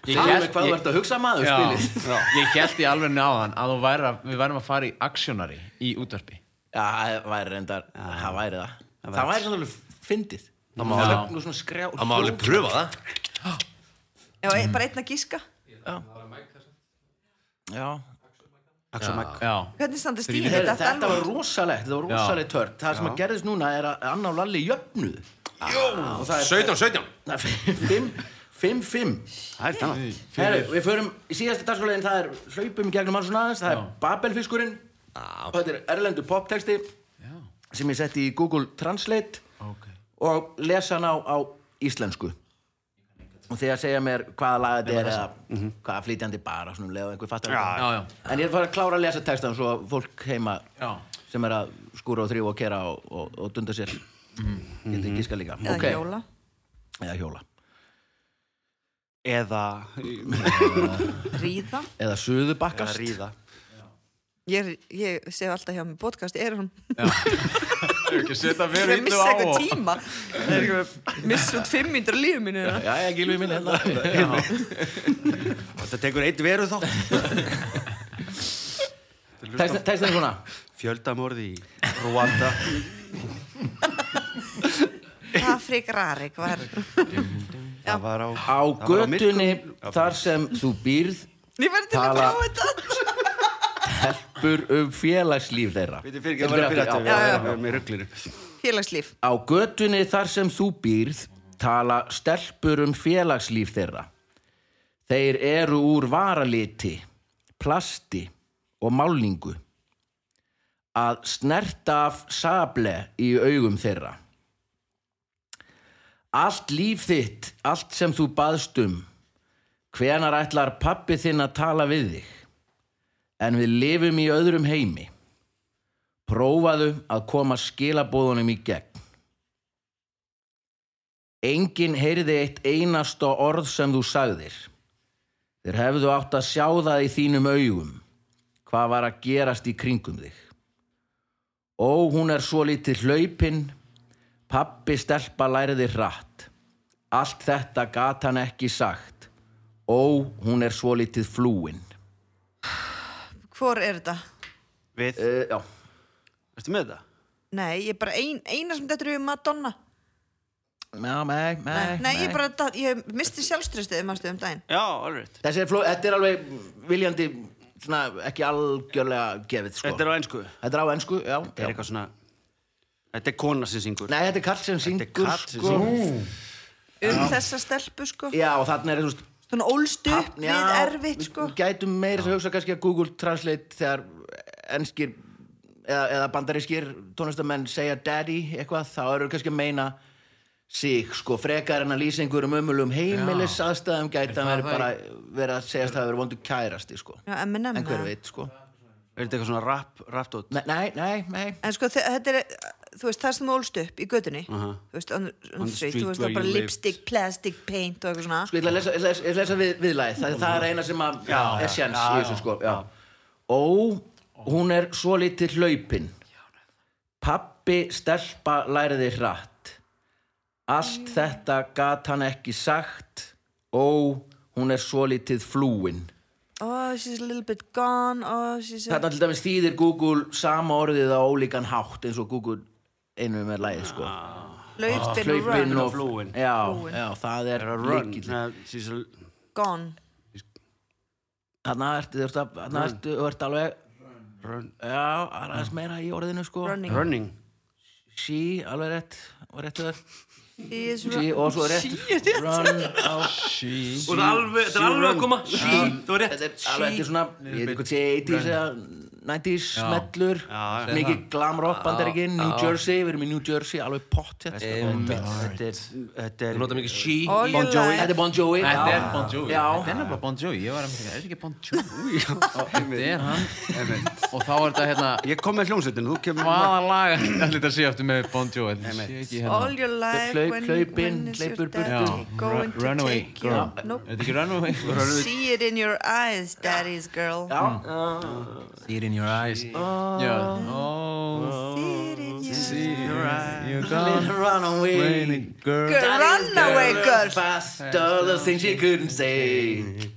[SPEAKER 1] Segðu
[SPEAKER 5] hélt-
[SPEAKER 1] mér hvað þú
[SPEAKER 5] ég-
[SPEAKER 1] ert að hugsa maður
[SPEAKER 5] Já,
[SPEAKER 1] spilið
[SPEAKER 5] já. ég held í alveg náðan að þú væri að, við værum að fara í aksjónari í útvarpi
[SPEAKER 1] Já, það væri reyndar, það væri það Það væri svona alveg fyndið Það má
[SPEAKER 5] alveg-
[SPEAKER 1] alveg svona skrjá
[SPEAKER 3] Það má alveg pröfa það
[SPEAKER 2] Já, e- bara einn að gíska
[SPEAKER 1] Já
[SPEAKER 5] Oh
[SPEAKER 4] Axel Mike
[SPEAKER 5] Já,
[SPEAKER 2] Hvernig standast í
[SPEAKER 1] Heyrðu,
[SPEAKER 2] þetta?
[SPEAKER 1] Þetta var rosalegt, þetta var
[SPEAKER 5] Já.
[SPEAKER 1] rosalegt tört Það sem að gerðist núna er að Anna og Lalli jöfnuð Jó,
[SPEAKER 3] 17, 17
[SPEAKER 1] 5-5
[SPEAKER 4] Það er þannig
[SPEAKER 1] Herru, við förum í síðasta dagskólaðin það er hlaupum í gegnum alls og aðeins það er Babelfiskurinn og þetta er erlendu poptexti
[SPEAKER 5] já,
[SPEAKER 1] sem ég setti í Google Translate
[SPEAKER 5] ok
[SPEAKER 1] og lesa hann á, á íslensku og þegar segja mér hvaða lag þetta er eða
[SPEAKER 4] Mhm.
[SPEAKER 1] hvaða flytjandi bara svona um leið og einhver fattar þetta.
[SPEAKER 5] Já, já,
[SPEAKER 1] en ég er að fara að klára að lesa textan svo að fólk heima
[SPEAKER 5] Já.
[SPEAKER 1] sem er að skúra og þrjú og kera og, og, og dunda sér
[SPEAKER 4] Mhm.
[SPEAKER 1] getur gíska líka
[SPEAKER 2] Eða
[SPEAKER 1] Ok.
[SPEAKER 2] hjóla
[SPEAKER 1] eða hjóla
[SPEAKER 4] Eða
[SPEAKER 2] Ríða
[SPEAKER 1] eða
[SPEAKER 4] Eða
[SPEAKER 1] suðubakkast
[SPEAKER 4] ríða
[SPEAKER 2] Ég, er- ég segi alltaf hjá mér podcast Er hún
[SPEAKER 5] Ég ekki setja
[SPEAKER 2] Ég er
[SPEAKER 5] mér
[SPEAKER 2] að
[SPEAKER 5] yllu
[SPEAKER 2] missa
[SPEAKER 5] á
[SPEAKER 2] eitthvað
[SPEAKER 5] og
[SPEAKER 2] tíma Það er eitthvað Missa út 500 lífið mínu hérna.
[SPEAKER 1] já, ég gilvið minn hérna
[SPEAKER 4] Þetta tekur eitt veru þátt
[SPEAKER 1] Textin- textin er svona
[SPEAKER 4] Fjöldamorði í Rwanda
[SPEAKER 2] Það frekar aðrik var
[SPEAKER 4] Það var á
[SPEAKER 1] á
[SPEAKER 4] Það var á
[SPEAKER 1] götunni þar sem þú býrð
[SPEAKER 2] Ég verði til að
[SPEAKER 1] Tala.
[SPEAKER 2] prófa þetta
[SPEAKER 1] bur um félagslíf þeirra
[SPEAKER 4] Við erum fyrir ekki að byrja
[SPEAKER 1] Já.
[SPEAKER 4] þetta Við erum í rugglir
[SPEAKER 2] Félagslíf
[SPEAKER 1] á götunni þar sem þú býrð tala stelpur um félagslíf þeirra þeir eru úr varaliti plasti og málningu að snerta af sable í augum þeirra allt líf þitt allt sem þú baðst um hvenar ætlar pappi þinn að tala við þig en við lifum í öðrum heimi prófaðu að koma skilabóðunum í gegn. Engin heyrði eitt einasta orð sem þú sagðir. Þeir hefðu átt að sjá það í þínum augum, hvað var að gerast í kringum þig. Ó, hún er svo lítið hlaupin, pappi stelpa læriði hratt. Allt þetta gat hann ekki sagt. Ó, hún er svo lítið flúin.
[SPEAKER 2] Hvor er þetta?
[SPEAKER 4] Við,
[SPEAKER 1] Uh, já,
[SPEAKER 4] Eh, ertu með þetta?
[SPEAKER 2] Nei, ég er bara ein, eina sem þetta er um Madonna
[SPEAKER 1] já, nei, nei,
[SPEAKER 2] Nei, ég bara, datt- ég misti sjálfströstið Mástu um daginn
[SPEAKER 4] Já, alveg
[SPEAKER 1] Þessi er fló, þetta er alveg viljandi svona ekki algjörlega gefið sko.
[SPEAKER 4] Þetta er á einsku
[SPEAKER 1] Þetta er á ennsku, já,
[SPEAKER 4] Þetta
[SPEAKER 1] já.
[SPEAKER 4] er eitthvað svona Þetta er kona sem syngur
[SPEAKER 1] Nei, þetta er kall sem
[SPEAKER 4] Þetta er
[SPEAKER 1] syngur
[SPEAKER 4] karl sem
[SPEAKER 1] sko.
[SPEAKER 2] Um þessa stelpu sko
[SPEAKER 1] Já, og þarna er þú veist
[SPEAKER 2] Svona ólst upp
[SPEAKER 1] papp-
[SPEAKER 2] við
[SPEAKER 1] já,
[SPEAKER 2] erfitt sko
[SPEAKER 1] við Gætum meira að hugsa kannski að Google Translate þegar ennskir eða, eða bandarískir tónlistamenn segja daddy eitthvað, þá eru kannski að meina sig, sko, frekar en að lýsa einhverjum umulum heimilis aðstæðum gæta
[SPEAKER 5] Er það
[SPEAKER 1] verið bara verið að segjast að það verið vondu kærasti, sko
[SPEAKER 2] Já, Eminem
[SPEAKER 1] en hver
[SPEAKER 2] eða?
[SPEAKER 1] veit, sko
[SPEAKER 4] Er þetta eitthvað svona rap, rapdót?
[SPEAKER 1] Nei, nei, nei, nei.
[SPEAKER 2] En sko þe- þetta er, þú veist, það sem þú ólst upp í gödunni Þú veist, on, on, the street, þú veist, það
[SPEAKER 4] where
[SPEAKER 2] er bara
[SPEAKER 4] you lived.
[SPEAKER 2] lipstick, plastic, paint og eitthvað svona
[SPEAKER 1] Sko, ég ætla að lesa, ég ætla að- ég ætla að lesa við, viðlæð það, það er eina sem að er sjans í þessu sko já. Ó, hún er svo litið hlaupin Pappi stelpa læriði hratt Allt þetta gat hann ekki sagt Ó, hún er svo litið flúin
[SPEAKER 2] Oh, she's a little bit gone Oh, she's a...
[SPEAKER 1] Þarna til dæmis þýðir Google sama orðið á ólíkan hátt eins og Google einu með lægið sko
[SPEAKER 2] Laupin og
[SPEAKER 1] Hlaupin
[SPEAKER 2] run
[SPEAKER 1] og
[SPEAKER 4] flúin.
[SPEAKER 1] Já,
[SPEAKER 2] Flúin.
[SPEAKER 1] já, það er
[SPEAKER 4] Er að run
[SPEAKER 1] lykill.
[SPEAKER 4] Nei, she's a-
[SPEAKER 2] Gone
[SPEAKER 1] Þarna ertu, þú ert að- þarna ertu, þú ert alveg
[SPEAKER 4] run,
[SPEAKER 1] Já, aðeins meira í orðinu sko
[SPEAKER 2] Running
[SPEAKER 4] Running
[SPEAKER 1] She, alveg rétt og réttu þér
[SPEAKER 2] She is
[SPEAKER 1] She
[SPEAKER 2] run
[SPEAKER 1] og svo rétt Run out
[SPEAKER 5] She
[SPEAKER 3] Og það er alveg, þetta er alveg að koma Þú er rétt
[SPEAKER 1] Þetta er alveg þetta er svona ég veit ekki hvað sé 80s eða 90s smellur
[SPEAKER 4] Já,
[SPEAKER 1] mikið glam rock bandaríkinn New Jersey við erum í New Jersey alveg pott hérna Þetta er
[SPEAKER 3] Þú
[SPEAKER 4] Þetta er
[SPEAKER 3] notar mikið she
[SPEAKER 2] All your life
[SPEAKER 1] Þetta er Bon Jovi
[SPEAKER 5] Þetta
[SPEAKER 1] já.
[SPEAKER 5] er Bon Jovi
[SPEAKER 1] Já.
[SPEAKER 5] Þetta er nefnilega Bon Jovi Ég var að mynda, er þetta ekki Bon Jovi? Þetta er hann Og þá er þetta hérna
[SPEAKER 4] Ég kom með hljómsveitinu, þú kemur
[SPEAKER 5] Hvaða lag er þetta að sé aftur með Bon Jovi? Þetta sé ekki hérna
[SPEAKER 2] All your life
[SPEAKER 1] Hlaup-
[SPEAKER 2] when,
[SPEAKER 1] hlaupin,
[SPEAKER 2] when is your
[SPEAKER 1] hlaupur burtu.
[SPEAKER 2] daddy
[SPEAKER 5] Já.
[SPEAKER 2] going to
[SPEAKER 5] Run away,
[SPEAKER 2] take
[SPEAKER 5] girl.
[SPEAKER 2] you nope.
[SPEAKER 5] Er þetta ekki Runaway?
[SPEAKER 2] See it in your eyes, daddy's girl
[SPEAKER 1] Já.
[SPEAKER 5] Oh. See it in your eyes Já, ó
[SPEAKER 2] See it in your
[SPEAKER 5] see
[SPEAKER 4] your eyes.
[SPEAKER 5] Oh, you gone
[SPEAKER 1] Run away
[SPEAKER 5] raining girl
[SPEAKER 2] Girl, runaway girl
[SPEAKER 1] Fast all the things you couldn't say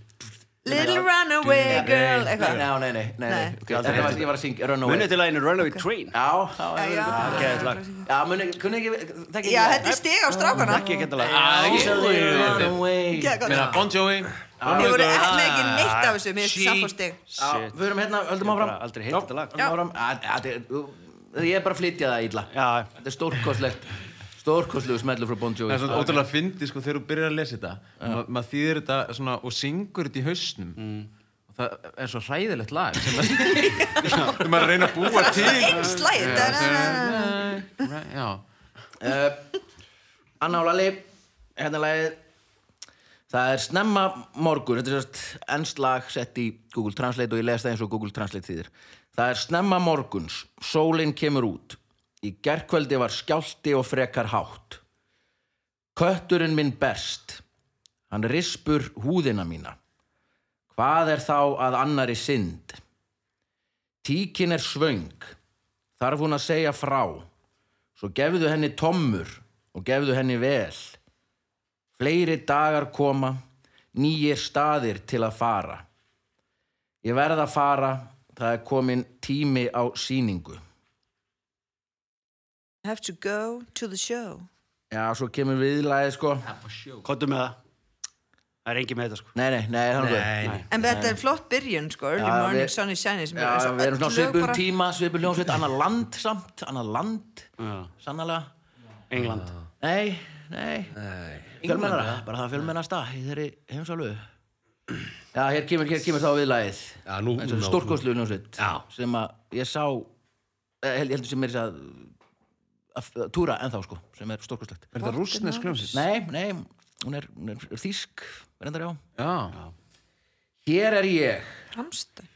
[SPEAKER 2] Little runaway girl
[SPEAKER 1] Nei,
[SPEAKER 2] Eitthvað
[SPEAKER 1] nei, nei, nei, nei,
[SPEAKER 2] Nei.
[SPEAKER 1] nei. ok, en Ég var- ég var að syngja Run
[SPEAKER 4] Munið
[SPEAKER 1] away
[SPEAKER 4] til læginu Runaway Train
[SPEAKER 1] Já, já,
[SPEAKER 2] Já, já.
[SPEAKER 1] já, já, já, muni, kunni ekki, þekki
[SPEAKER 2] Já, þetta er stig á strákana
[SPEAKER 4] Ekki Ah, ekki
[SPEAKER 1] Já,
[SPEAKER 5] ekki.
[SPEAKER 1] easily run away
[SPEAKER 2] Geðgott.
[SPEAKER 5] Meina, Bon Jovi
[SPEAKER 2] Ég voru ekki með ekki neitt af þessu Mér finnst samfórstig
[SPEAKER 1] Já, Við höfum hérna, höldum áfram
[SPEAKER 4] Aldrei heitt þetta lag
[SPEAKER 1] Höldum áfram. Já, þetta er- þú- Ég er bara að flytja það illa
[SPEAKER 4] Já.
[SPEAKER 1] Þetta er stórkostlegt Stórkostlegu smellur frá Bon
[SPEAKER 5] Það
[SPEAKER 1] Jovi
[SPEAKER 5] er svona ótrúlega fyndi sko þegar þú byrjar að lesa þetta ma maður þýðir þetta svona og syngur þetta í hausnum og það er svo hræðilegt lag sem að þegar maður reyna að búa til
[SPEAKER 2] Einn slæð
[SPEAKER 5] Right, Já,
[SPEAKER 1] uh, Anna og Lalli Hérna lagið Það er snemma morgun Þetta er sérst ennst lag sett í Google Translate og ég les það eins og Google Translate þýðir Það er snemma morguns Sólin kemur út Í gerkveldi var skjálti og frekar hátt Kötturinn minn berst Hann rispur húðina mína Hvað er þá að annari synd? Tíkin er svöng Þarf hún að segja frá Svo gefðu henni tommur og gefðu henni vel. Fleiri dagar koma, nýjir staðir til að fara. Ég verð að fara, það er komin tími á síningu.
[SPEAKER 2] Have to go to the show
[SPEAKER 1] Já, svo kemur viðlæði, sko.
[SPEAKER 4] Kottu með það Það er engin með þetta sko
[SPEAKER 1] Nei, nei, nei, þannig að...
[SPEAKER 3] nei.
[SPEAKER 2] En þetta er flott byrjun sko Early
[SPEAKER 1] Já,
[SPEAKER 2] morning
[SPEAKER 1] við-
[SPEAKER 2] sun is shining sem
[SPEAKER 1] Já,
[SPEAKER 2] er-
[SPEAKER 1] við erum svona
[SPEAKER 2] öll lög
[SPEAKER 1] svipum
[SPEAKER 2] bara-
[SPEAKER 1] tíma, svipum hljómsveit, annar land samt, annar land,
[SPEAKER 4] Já.
[SPEAKER 1] sannlega.
[SPEAKER 4] England
[SPEAKER 1] Nei, nei. Fjölmennara, bara það fjölmennasta í þeirri heimsálfu. Já, hér kemur, hér kemur þá viðlæðið.
[SPEAKER 3] Já, nú, nú, nú.
[SPEAKER 1] Stórkostlu hljómsveit
[SPEAKER 3] Já.
[SPEAKER 1] sem að ég sá eh, held, heldur sem er þess að, að, að túra ennþá sko, sem er stórkostlegt.
[SPEAKER 5] er þetta rúsnesk hljómsið?
[SPEAKER 1] Nei, nei, hún er, hún er þýsk, reyndar já.
[SPEAKER 5] Já,
[SPEAKER 1] Hér er ég,
[SPEAKER 2] Rammstein.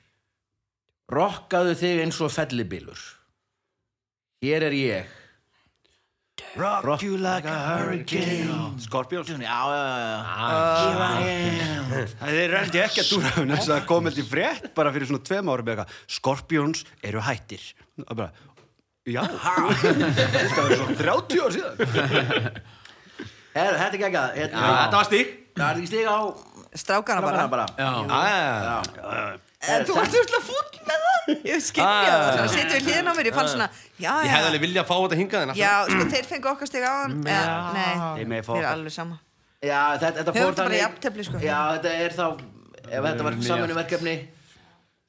[SPEAKER 1] rokkaðu þig eins og fellibylur. Hér er ég.
[SPEAKER 4] Rock, you like a hurricane Scorpions
[SPEAKER 1] Já, já,
[SPEAKER 3] Ah.
[SPEAKER 1] já, já.
[SPEAKER 4] Það er reyndi ekki að dúra hún þess að komið til frétt bara fyrir svona tveim árum eða eitthvað Scorpions eru hættir Það bara Já, þetta var svo 30 ár síðan
[SPEAKER 1] Her, þetta er geggjað. hérna,
[SPEAKER 4] Þetta var stík
[SPEAKER 1] Það er ekki stig á
[SPEAKER 2] Strákana bara
[SPEAKER 1] strákana bara.
[SPEAKER 4] Eh,
[SPEAKER 2] En Þú ert þurfti að fúll með það Ég skilja
[SPEAKER 4] Ah.
[SPEAKER 2] það Svo sittum við hliðin á mér Ég fann svona Já,
[SPEAKER 3] Ég hefði alveg
[SPEAKER 2] já
[SPEAKER 3] viljað að fá þetta hingað en alltaf-
[SPEAKER 2] Já, sko þeir fengu okkar stig á hann Nei,
[SPEAKER 4] Mm. Þeir megi fá
[SPEAKER 2] þeir er
[SPEAKER 4] okkar.
[SPEAKER 2] alveg sama
[SPEAKER 1] Já, þetta, þetta
[SPEAKER 2] Höfum
[SPEAKER 1] fór
[SPEAKER 2] þetta bara í jafntefli, sko.
[SPEAKER 1] Já, þetta er þá, ef þetta var saminu verkefni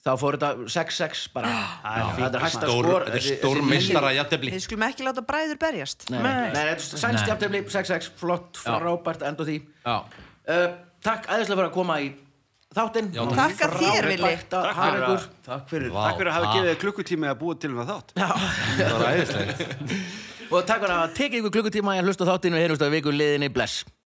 [SPEAKER 1] þá fór þetta 6-6 bara Já, Þetta er hægt að
[SPEAKER 3] Stór-
[SPEAKER 1] skor
[SPEAKER 3] Þetta er stór meistara jættefli
[SPEAKER 2] Við skulum ekki láta bræður berjast
[SPEAKER 1] Nei, nei, nei, þetta er sænst jafntefli 6-6, flott, frábært, enda því
[SPEAKER 5] já
[SPEAKER 1] uh, Takk æðislega fyrir að koma í þáttinn Já,
[SPEAKER 2] takk. Takk að þér, Villi.
[SPEAKER 1] Takk fyrir að
[SPEAKER 5] Takk fyrir
[SPEAKER 4] Takk fyrir að hafa gefið þér klukkutími að búa til með þátt
[SPEAKER 3] Það var æðislegt
[SPEAKER 1] Og takk fyrir að hafa tekið ykkur klukkutíma í að hlusta á þáttinn við heyrumst að viku liðinni, bless